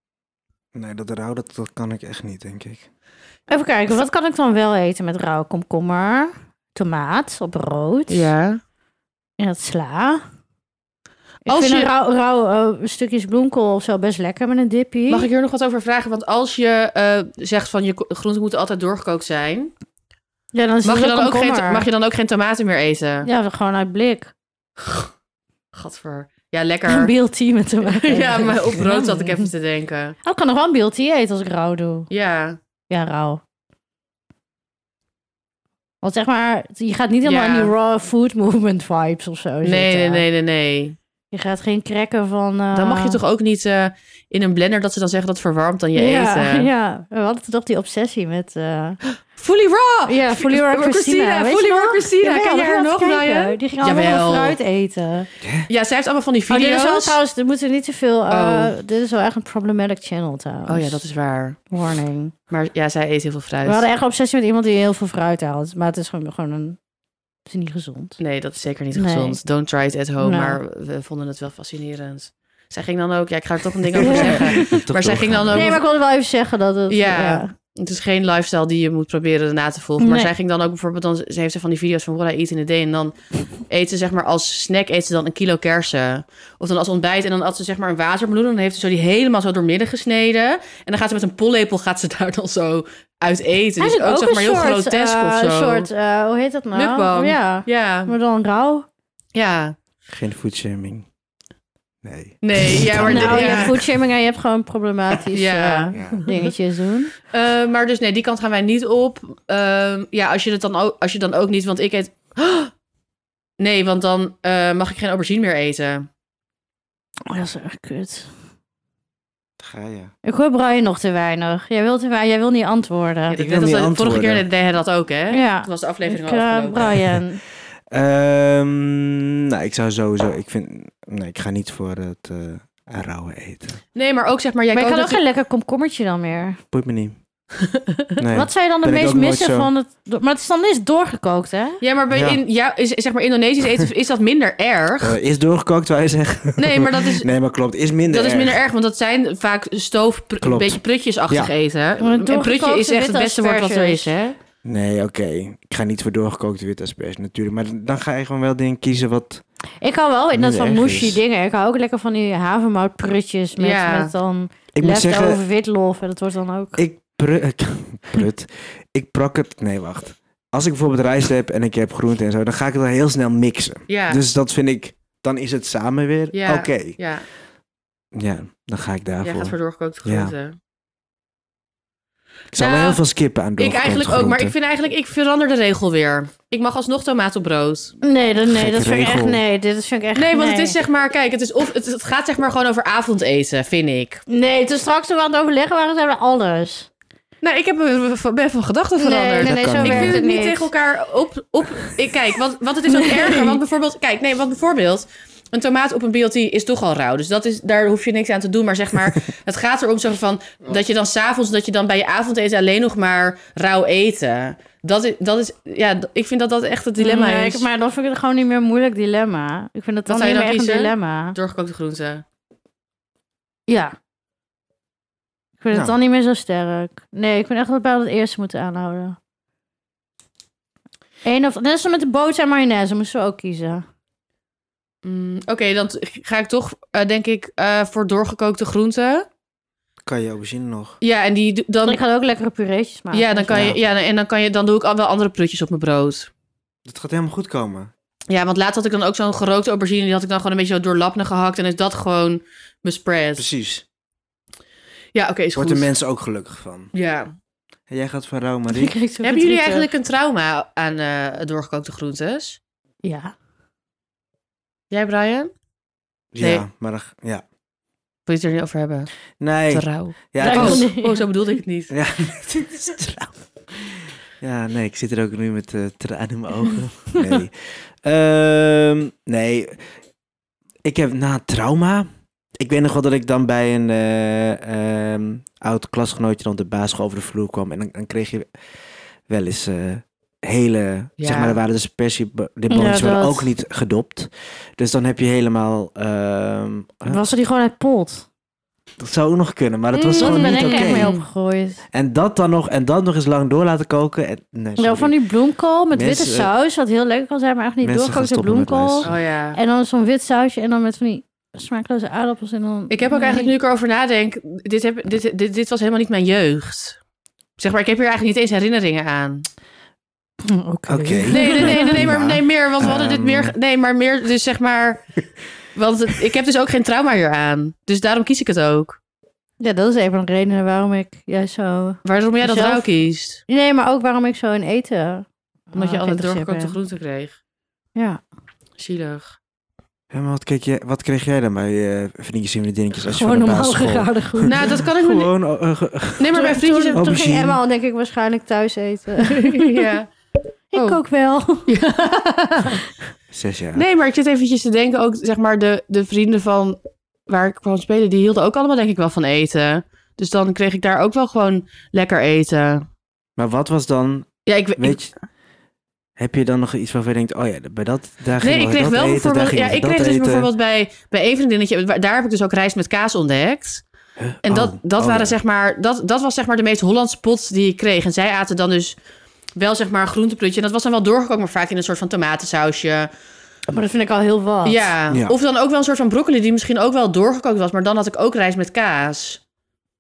Speaker 2: Nee, dat rauw, dat, dat kan ik echt niet, denk ik.
Speaker 3: Even kijken, wat kan ik dan wel eten met rauwe komkommer? Tomaat op brood.
Speaker 1: Ja.
Speaker 3: En dat sla. Ik
Speaker 1: Als
Speaker 3: vind
Speaker 1: je-
Speaker 3: een rauw, rauw, eh, stukjes bloemkool of zo best lekker met een dippie.
Speaker 1: Mag ik hier nog wat over vragen? Want als je eh, zegt van je ko- groenten moeten altijd doorgekookt zijn.
Speaker 3: Ja, dan is
Speaker 1: Mag
Speaker 3: het
Speaker 1: je,
Speaker 3: wel
Speaker 1: dan ook geen,
Speaker 3: komkommer.
Speaker 1: mag je dan ook geen tomaten meer eten?
Speaker 3: Ja, gewoon uit blik.
Speaker 1: Gadver. Ja, lekker.
Speaker 3: Een BLT met tomaat.
Speaker 1: Ja, maar op brood zat ik even te denken.
Speaker 3: Oh, ik kan nog wel een BLT eten als ik rauw doe.
Speaker 1: Ja,
Speaker 3: Ja, rauw. Want zeg maar, je gaat niet helemaal
Speaker 1: Ja.
Speaker 3: in die raw food movement vibes of zo
Speaker 1: nee,
Speaker 3: zitten.
Speaker 1: nee, nee, nee, nee.
Speaker 3: Je gaat geen krekken van... eh,
Speaker 1: Dan mag je toch ook niet eh, in een blender dat ze dan zeggen dat verwarmt dan je
Speaker 3: ja,
Speaker 1: eten.
Speaker 3: Ja, we hadden toch die obsessie met... eh,
Speaker 1: Fully raw!
Speaker 3: Ja, Fully Raw Christina. weet je
Speaker 1: Fully raw
Speaker 3: nog?
Speaker 1: Christina.
Speaker 3: Jawel,
Speaker 1: Ken je
Speaker 3: we gaan
Speaker 1: haar nog,
Speaker 3: even kijken.
Speaker 1: Brian?
Speaker 3: Die ging allemaal
Speaker 1: Jawel.
Speaker 3: fruit eten.
Speaker 1: Ja, zij heeft allemaal van die
Speaker 3: Oh, dit
Speaker 1: video's.
Speaker 3: is wel trouwens, dit moeten we niet te veel... eh,
Speaker 1: Oh.
Speaker 3: Dit is wel echt een problematic channel trouwens.
Speaker 1: Oh ja, dat is waar.
Speaker 3: Warning.
Speaker 1: Maar ja, zij eet heel veel fruit.
Speaker 3: We hadden echt een obsessie met iemand die heel veel fruit haalt. Maar het is gewoon, gewoon een... Het is niet gezond.
Speaker 1: Nee, dat is zeker niet
Speaker 3: Nee.
Speaker 1: gezond. Don't try it at home.
Speaker 3: Nee.
Speaker 1: Maar we vonden het wel fascinerend. Zij ging dan ook... Ja, ik ga er toch een ding over zeggen.
Speaker 2: Toch
Speaker 1: Maar zij ging dan
Speaker 2: doorgaan.
Speaker 1: ook-
Speaker 3: Nee, maar ik wilde wel even zeggen dat het...
Speaker 1: Ja. Het is geen lifestyle die je moet proberen na te volgen. Maar
Speaker 3: Nee.
Speaker 1: zij ging dan ook bijvoorbeeld... Dan, ze heeft ze van die video's van What I Eat in a Day. En dan eet ze zeg maar als snack eet ze dan een kilo kersen. Of dan als ontbijt. En dan had ze zeg maar een watermeloen. En dan heeft ze zo die helemaal zo doormidden gesneden. En dan gaat ze met een pollepel gaat ze daar dan zo uit eten. Dus ook,
Speaker 3: Eigenlijk
Speaker 1: zeg maar heel
Speaker 3: een soort,
Speaker 1: grotesk
Speaker 3: eh,
Speaker 1: of
Speaker 3: Een
Speaker 1: zo.
Speaker 3: soort, eh, hoe heet dat nou?
Speaker 1: Mukbang.
Speaker 3: Ja,
Speaker 1: Ja,
Speaker 3: maar dan rauw.
Speaker 1: ja.
Speaker 2: Geen foodshaming. Nee.
Speaker 1: Nee, ja, maar...
Speaker 2: Nou,
Speaker 3: nou,
Speaker 1: ja.
Speaker 3: je hebt foodshaming en je hebt gewoon problematische
Speaker 1: Ja.
Speaker 3: eh, dingetjes doen.
Speaker 1: Eh, maar dus nee, die kant gaan wij niet op. Ehm, ja, als je het dan ook, als je dan ook niet, want ik eet. Nee, want dan eh, mag ik geen aubergine meer eten.
Speaker 3: Oh, dat is echt kut.
Speaker 2: Ga je.
Speaker 3: Ik hoor Brian nog te weinig. Jij wil, te weinig, jij wil niet antwoorden.
Speaker 1: Ja,
Speaker 2: wil
Speaker 1: net als
Speaker 2: niet
Speaker 1: de vorige
Speaker 2: antwoorden.
Speaker 1: keer deden hij dat ook, hè?
Speaker 3: Ja.
Speaker 1: Toen was de aflevering
Speaker 3: Ik,
Speaker 1: al
Speaker 3: eh,
Speaker 1: afgelopen.
Speaker 3: Brian.
Speaker 2: Ehm, nou, ik zou sowieso... Ik vind... Nee, ik ga niet voor het eh rauwe eten.
Speaker 1: Nee, maar ook zeg maar, jij
Speaker 3: maar je
Speaker 1: kan
Speaker 3: kan ook
Speaker 1: natuurlijk-
Speaker 3: geen lekker komkommertje dan meer.
Speaker 2: Boeit me niet. Nee.
Speaker 3: Wat zou je dan het
Speaker 2: Ben ik
Speaker 3: meest
Speaker 2: ook nooit
Speaker 3: missen
Speaker 2: zo.
Speaker 3: van het... Maar het is dan is doorgekookt, hè?
Speaker 1: Ja, maar bij
Speaker 2: Ja.
Speaker 1: In, ja, is, zeg maar Indonesisch eten is dat minder erg.
Speaker 2: Eh, is doorgekookt, wij zeggen.
Speaker 1: Nee, maar dat is,
Speaker 2: Nee, maar klopt. Is minder
Speaker 1: dat is
Speaker 2: erg.
Speaker 1: minder erg, want dat zijn vaak stoof, pr- een
Speaker 2: Klopt.
Speaker 1: beetje prutjesachtig
Speaker 2: Ja.
Speaker 1: eten. En prutje
Speaker 3: doorgekookte
Speaker 1: is echt het
Speaker 3: witte
Speaker 1: beste woord wat er is,
Speaker 3: asperges.
Speaker 1: hè?
Speaker 2: Nee, oké. Ik ga niet voor doorgekookte witte asperges natuurlijk. Maar dan ga je gewoon wel dingen kiezen wat...
Speaker 3: Ik hou wel net
Speaker 2: Minder
Speaker 3: van
Speaker 2: erg
Speaker 3: mushy
Speaker 2: is.
Speaker 3: dingen. Ik hou ook lekker van die havermoutprutjes met,
Speaker 1: Ja.
Speaker 3: met dan
Speaker 2: Ik moet
Speaker 3: leftover
Speaker 2: zeggen,
Speaker 3: witlof. En dat wordt dan ook...
Speaker 2: ik pru- prut. Ik prak het... Nee, wacht. Als ik bijvoorbeeld rijst heb en ik heb groente en zo, dan ga ik het wel heel snel mixen.
Speaker 1: Ja.
Speaker 2: Dus dat vind ik... Dan is het samen weer
Speaker 1: Ja.
Speaker 2: oké.
Speaker 1: ja.
Speaker 2: Ja, dan ga ik daarvoor.
Speaker 1: Jij gaat voor doorgekookte
Speaker 2: Ja.
Speaker 1: groenten.
Speaker 2: Ik zou
Speaker 1: Nou,
Speaker 2: wel heel veel skippen aan
Speaker 1: Ik
Speaker 2: doorgekookte
Speaker 1: eigenlijk ook, maar ik
Speaker 2: groenten.
Speaker 1: vind eigenlijk, ik verander de regel weer. Ik mag alsnog tomaat op brood.
Speaker 3: Nee, dat, nee,
Speaker 2: Gekke
Speaker 3: dat vind ik echt...
Speaker 2: regel.
Speaker 3: Nee, dit vind ik echt...
Speaker 1: Nee, want het is zeg maar, kijk, het, is of, het, het gaat zeg maar gewoon over avondeten, vind ik.
Speaker 3: Nee, toen straks toen we aan het overleggen waren, zijn we alles.
Speaker 1: Nou, ik heb, ben van gedachten
Speaker 3: Nee,
Speaker 1: veranderd.
Speaker 3: nee, nee,
Speaker 2: Dat
Speaker 3: zo
Speaker 2: kan niet.
Speaker 3: werkt
Speaker 1: Ik vind het niet
Speaker 3: niet.
Speaker 1: tegen elkaar op. op ik, kijk, want, want het is ook erger. Want bijvoorbeeld, kijk, nee, want bijvoorbeeld. Een tomaat op een BLT is toch al rauw. Dus dat is, daar hoef je niks aan te doen. Maar zeg maar, het gaat erom zo van. dat je dan s'avonds, dat je dan bij je avondeten alleen nog maar rauw eten. Dat is, dat is ja, d- ik vind dat dat echt het dilemma
Speaker 3: Nee,
Speaker 1: is.
Speaker 3: ik- Maar dan vind ik het gewoon niet meer een moeilijk dilemma. Ik vind het dan
Speaker 1: Wat zou
Speaker 3: niet
Speaker 1: je
Speaker 3: meer
Speaker 1: dan
Speaker 3: echt een
Speaker 1: kiezen?
Speaker 3: dilemma.
Speaker 1: Doorgekookte groenten.
Speaker 3: Ja. Ik vind het
Speaker 2: Nou.
Speaker 3: dan niet meer zo sterk. Nee, ik vind echt dat wij dat eerste moeten aanhouden. Eén of... Net als met de boter en mayonaise moesten we ook kiezen.
Speaker 1: Mm, Oké, dan t- ga ik toch, eh, denk ik, eh, voor doorgekookte groenten.
Speaker 2: Kan je aubergine nog?
Speaker 1: Ja, en die do-
Speaker 3: Want
Speaker 1: dan.
Speaker 3: ik had ook lekkere pureetjes maken.
Speaker 1: Ja, dan kan
Speaker 2: Ja.
Speaker 1: je, ja, en dan kan je, dan doe ik al wel andere prutjes op mijn brood.
Speaker 2: Dat gaat helemaal goed komen.
Speaker 1: Ja, want laatst had ik dan ook zo'n gerookte aubergine. Die had ik dan gewoon een beetje zo door lappen gehakt. En is dat gewoon mijn spread.
Speaker 2: Precies.
Speaker 1: Ja, oké, is goed.
Speaker 2: Wordt de mensen ook gelukkig van.
Speaker 1: ja.
Speaker 2: En jij gaat voor rauw, Marie.
Speaker 1: Hebben jullie eigenlijk een trauma aan eh, doorgekookte groentes?
Speaker 3: Ja.
Speaker 1: Jij, Brian? Nee.
Speaker 2: Ja, maar dan, ja.
Speaker 1: Wil je het er niet over hebben?
Speaker 2: Nee.
Speaker 1: Trouw.
Speaker 2: Ja, het
Speaker 3: Daar
Speaker 1: Oh,
Speaker 2: was-
Speaker 3: komt-
Speaker 1: oh, zo bedoelde ik het niet.
Speaker 2: ja, het is trouw. ja, nee, ik zit er ook nu met eh tranen in mijn ogen. Nee. Ehm, nee. Ik heb na trauma. Ik weet nog wel dat ik dan bij een eh, ehm, oud klasgenootje dan de basisschool over de vloer kwam. En dan, dan kreeg je wel eens eh, hele...
Speaker 1: Ja.
Speaker 2: Zeg maar, er waren dus persie... De boontjes
Speaker 3: Ja,
Speaker 2: werden
Speaker 3: dat.
Speaker 2: ook niet gedopt. Dus dan heb je helemaal... ehm, eh,
Speaker 3: Was er die gewoon uit pot?
Speaker 2: dat zou ook nog kunnen, maar dat
Speaker 1: Mm,
Speaker 2: was
Speaker 1: dat
Speaker 3: Toen
Speaker 2: gewoon
Speaker 3: ben
Speaker 2: niet
Speaker 3: ik
Speaker 2: oké.
Speaker 3: echt mee opgegooid.
Speaker 2: En dat dan nog, en dat nog eens lang door laten koken. En, nee,
Speaker 3: Nou,
Speaker 2: sorry.
Speaker 3: van die bloemkool met witte
Speaker 2: Mensen- eh,
Speaker 3: saus, wat heel lekker kan zijn, maar echt niet
Speaker 2: Mensen gaan
Speaker 3: doorgekookte
Speaker 2: stoppen met
Speaker 3: bloemkool.
Speaker 2: luisteren.
Speaker 1: Oh ja.
Speaker 3: En dan zo'n wit sausje en dan met van die smaakloze aardappels en dan...
Speaker 1: Ik heb ook eigenlijk, nu ik erover nadenk... Dit, heb, dit, dit, dit was helemaal niet mijn jeugd. Zeg maar, ik heb hier eigenlijk niet eens herinneringen aan.
Speaker 2: Oké.
Speaker 3: Oké.
Speaker 1: Hm, Nee, nee, nee, nee, nee, maar
Speaker 2: Prima.
Speaker 1: nee, meer. Want we hadden dit
Speaker 2: Ehm.
Speaker 1: meer. ge- Nee, maar meer, dus zeg maar. Want het- ik heb dus ook geen trauma hier aan. Dus daarom kies ik het ook.
Speaker 3: Ja, dat is even een reden waarom ik juist zo...
Speaker 1: Waarom jij dat
Speaker 3: Zelf-
Speaker 1: trouw kiest?
Speaker 3: Nee, maar ook waarom ik zo in eten...
Speaker 1: Omdat je
Speaker 2: Oh,
Speaker 3: eh,
Speaker 1: altijd
Speaker 3: geïnteresseerd
Speaker 1: doorgekookte
Speaker 3: ben.
Speaker 1: groenten kreeg.
Speaker 3: Ja.
Speaker 1: Zielig.
Speaker 2: Ja, maar wat, kreeg jij, wat kreeg jij dan bij eh, vriendjes en vriendinnetjes als je
Speaker 3: Gewoon
Speaker 2: van de
Speaker 3: normaal
Speaker 2: basisschool-
Speaker 3: gegaan. goed.
Speaker 1: Nou, dat kan ik me niet.
Speaker 2: Gewoon, eh, eh, ge-
Speaker 1: Nee, maar bij vriendjes
Speaker 3: toen,
Speaker 1: heb
Speaker 3: toen ging
Speaker 2: aubergine.
Speaker 3: Emma al denk ik waarschijnlijk thuis eten.
Speaker 1: ja.
Speaker 3: Ik
Speaker 1: Oh.
Speaker 3: ook wel.
Speaker 2: zes jaar.
Speaker 1: Nee, maar ik zit eventjes te denken. Ook zeg maar de, de vrienden van waar ik kwam spelen, die hielden ook allemaal denk ik wel van eten. Dus dan kreeg ik daar ook wel gewoon lekker eten.
Speaker 2: Maar wat was dan,
Speaker 1: Ja, ik, ik,
Speaker 2: weet je, heb je dan nog iets waarvan je denkt, oh ja, bij dat, daar ging
Speaker 1: Nee, ik
Speaker 2: we
Speaker 1: kreeg
Speaker 2: dat
Speaker 1: wel
Speaker 2: eten, daar
Speaker 1: bijvoorbeeld.
Speaker 2: gingen
Speaker 1: Ja,
Speaker 2: we
Speaker 1: ik
Speaker 2: dat
Speaker 1: kreeg dus
Speaker 2: eten.
Speaker 1: bijvoorbeeld bij, bij een vriendinnetje. waar- Daar heb ik dus ook rijst met kaas ontdekt. En
Speaker 2: Oh,
Speaker 1: dat, dat,
Speaker 2: oh
Speaker 1: waren,
Speaker 2: ja.
Speaker 1: zeg maar, dat, dat was zeg maar de meest Hollandse pot die ik kreeg. En zij aten dan dus wel zeg maar een groenteplutje. En dat was dan wel doorgekookt, maar vaak in een soort van tomatensausje.
Speaker 3: Maar dat vind ik al heel wat.
Speaker 1: Ja.
Speaker 2: Ja.
Speaker 1: Of dan ook wel een soort van broccoli die misschien ook wel doorgekookt was. Maar dan had ik ook rijst met kaas.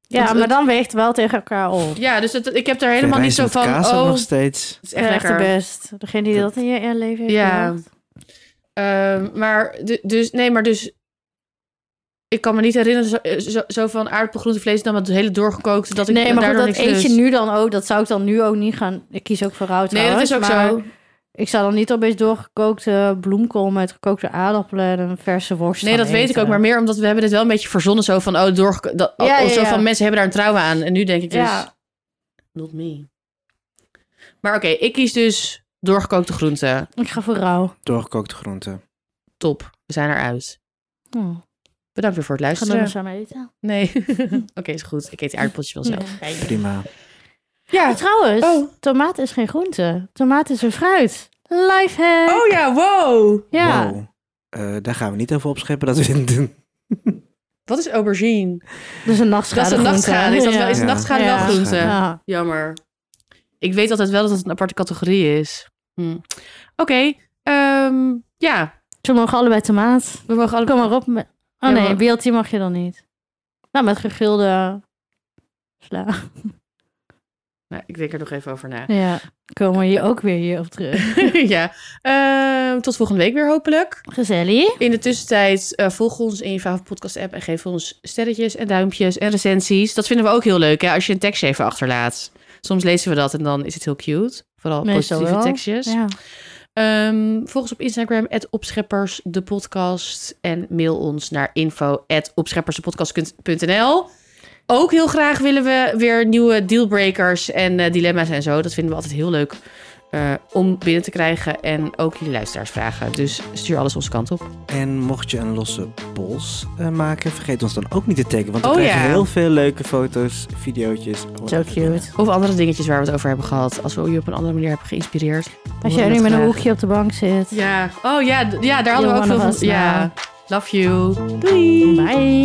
Speaker 3: ja
Speaker 1: Want-
Speaker 3: maar dan weegt het wel tegen elkaar op.
Speaker 1: Ja, dus het, ik heb daar
Speaker 2: De
Speaker 1: helemaal niet
Speaker 2: rijst
Speaker 1: zo
Speaker 2: met
Speaker 1: van.
Speaker 2: kaas ook
Speaker 1: oh,
Speaker 2: nog
Speaker 1: het
Speaker 2: steeds.
Speaker 1: is echt
Speaker 3: Echt,
Speaker 1: lekker.
Speaker 3: de best. Degene die dat in je in leven heeft
Speaker 1: Ja.
Speaker 3: bedacht.
Speaker 1: Ehm, maar du- dus, nee, maar dus. ik kan me niet herinneren zo, eh, zo, zo van aardappelgroentevlees dan met het hele doorgekookte dat ik
Speaker 3: nee, maar goed,
Speaker 1: daardoor
Speaker 3: dat
Speaker 1: niks
Speaker 3: eet je
Speaker 1: lust.
Speaker 3: nu dan ook. Dat zou ik dan nu ook niet gaan. Ik kies ook voor rauw
Speaker 1: Nee, dat is ook
Speaker 3: trouwens, maar
Speaker 1: zo.
Speaker 3: Ik zou dan niet opeens doorgekookte bloemkool met gekookte aardappelen en een verse worst.
Speaker 1: Nee,
Speaker 3: gaan
Speaker 1: dat weet ik
Speaker 3: eten.
Speaker 1: ook. Maar meer omdat we hebben dit wel een beetje verzonnen. Zo van, oh, door, dat,
Speaker 3: Ja, ja,
Speaker 1: zo
Speaker 3: ja.
Speaker 1: van mensen hebben daar een trouw aan. En nu denk ik dus,
Speaker 3: Ja.
Speaker 1: not me. Maar oké, ik kies dus doorgekookte groenten.
Speaker 3: Ik ga voor rauw.
Speaker 2: Doorgekookte groenten.
Speaker 1: Top, we zijn eruit.
Speaker 3: Oh,
Speaker 1: Bedankt weer voor het
Speaker 3: ik ga nog
Speaker 1: luisteren.
Speaker 3: samen eten.
Speaker 1: Nee. oké, is goed. Ik eet die aardappeltjes wel zelf.
Speaker 2: Prima.
Speaker 3: Ja, trouwens,
Speaker 1: Oh.
Speaker 3: tomaat is geen groente. Tomaat is een fruit. Lifehack.
Speaker 1: Oh ja, wow.
Speaker 3: ja.
Speaker 2: Wow. Eh, daar gaan we niet over opscheppen dat we dit doen.
Speaker 1: Wat is aubergine?
Speaker 3: Dus een
Speaker 1: Dat
Speaker 3: nachtschade.
Speaker 1: is een nachtschade. Is, dat wel, is een
Speaker 2: Ja.
Speaker 1: nachtschade wel
Speaker 3: Ja.
Speaker 1: groente?
Speaker 2: Ja.
Speaker 3: Ja.
Speaker 1: Jammer. Ik weet altijd wel dat het een aparte categorie is. Hm. Oké, ehm, ja.
Speaker 3: Ze mogen allebei tomaat.
Speaker 1: We mogen alle...
Speaker 3: Kom maar op. Met...
Speaker 1: Ja,
Speaker 3: Oh nee,
Speaker 1: maar-
Speaker 3: BLT mag je dan niet. Nou, met gegrilde sla.
Speaker 1: Nou, ik denk er nog even over na.
Speaker 3: Ja, komen we hier ook weer hier op terug.
Speaker 1: ja. Ehm, tot volgende week weer hopelijk.
Speaker 3: Gezellig.
Speaker 1: In de tussentijd eh, volg ons in je favoriete podcast app en geef ons sterretjes en duimpjes en recensies. Dat vinden we ook heel leuk hè, als je een tekstje even achterlaat. Soms lezen we dat en dan is het heel cute. Vooral
Speaker 3: Meestal
Speaker 1: positieve
Speaker 3: wel.
Speaker 1: tekstjes.
Speaker 3: Ja.
Speaker 1: Ehm volg ons op Instagram, opscheppers, de podcast. En mail ons naar info, opscheppersdepodcast.nl. Ook heel graag willen we weer nieuwe dealbreakers en eh, dilemma's en zo. Dat vinden we altijd heel leuk eh, om binnen te krijgen. En ook jullie luisteraarsvragen. Dus stuur alles onze kant op.
Speaker 2: En mocht je een losse pols eh, maken, vergeet ons dan ook niet te taggen. Want we
Speaker 1: Oh,
Speaker 2: krijgen
Speaker 1: ja.
Speaker 2: heel veel leuke foto's, videootjes.
Speaker 3: Zo
Speaker 2: whatever.
Speaker 3: cute.
Speaker 1: Of andere dingetjes waar we het over hebben gehad. Als we je op een andere manier hebben geïnspireerd.
Speaker 3: Als
Speaker 1: Horen we
Speaker 3: jij nu
Speaker 1: dat
Speaker 3: met een
Speaker 1: graag.
Speaker 3: hoekje op de bank zit.
Speaker 1: Ja. Oh ja, d- ja daar hadden
Speaker 3: You're
Speaker 1: we ook veel
Speaker 3: one of
Speaker 1: van.
Speaker 3: us now.
Speaker 1: Ja. Love you. Doei.
Speaker 3: Bye.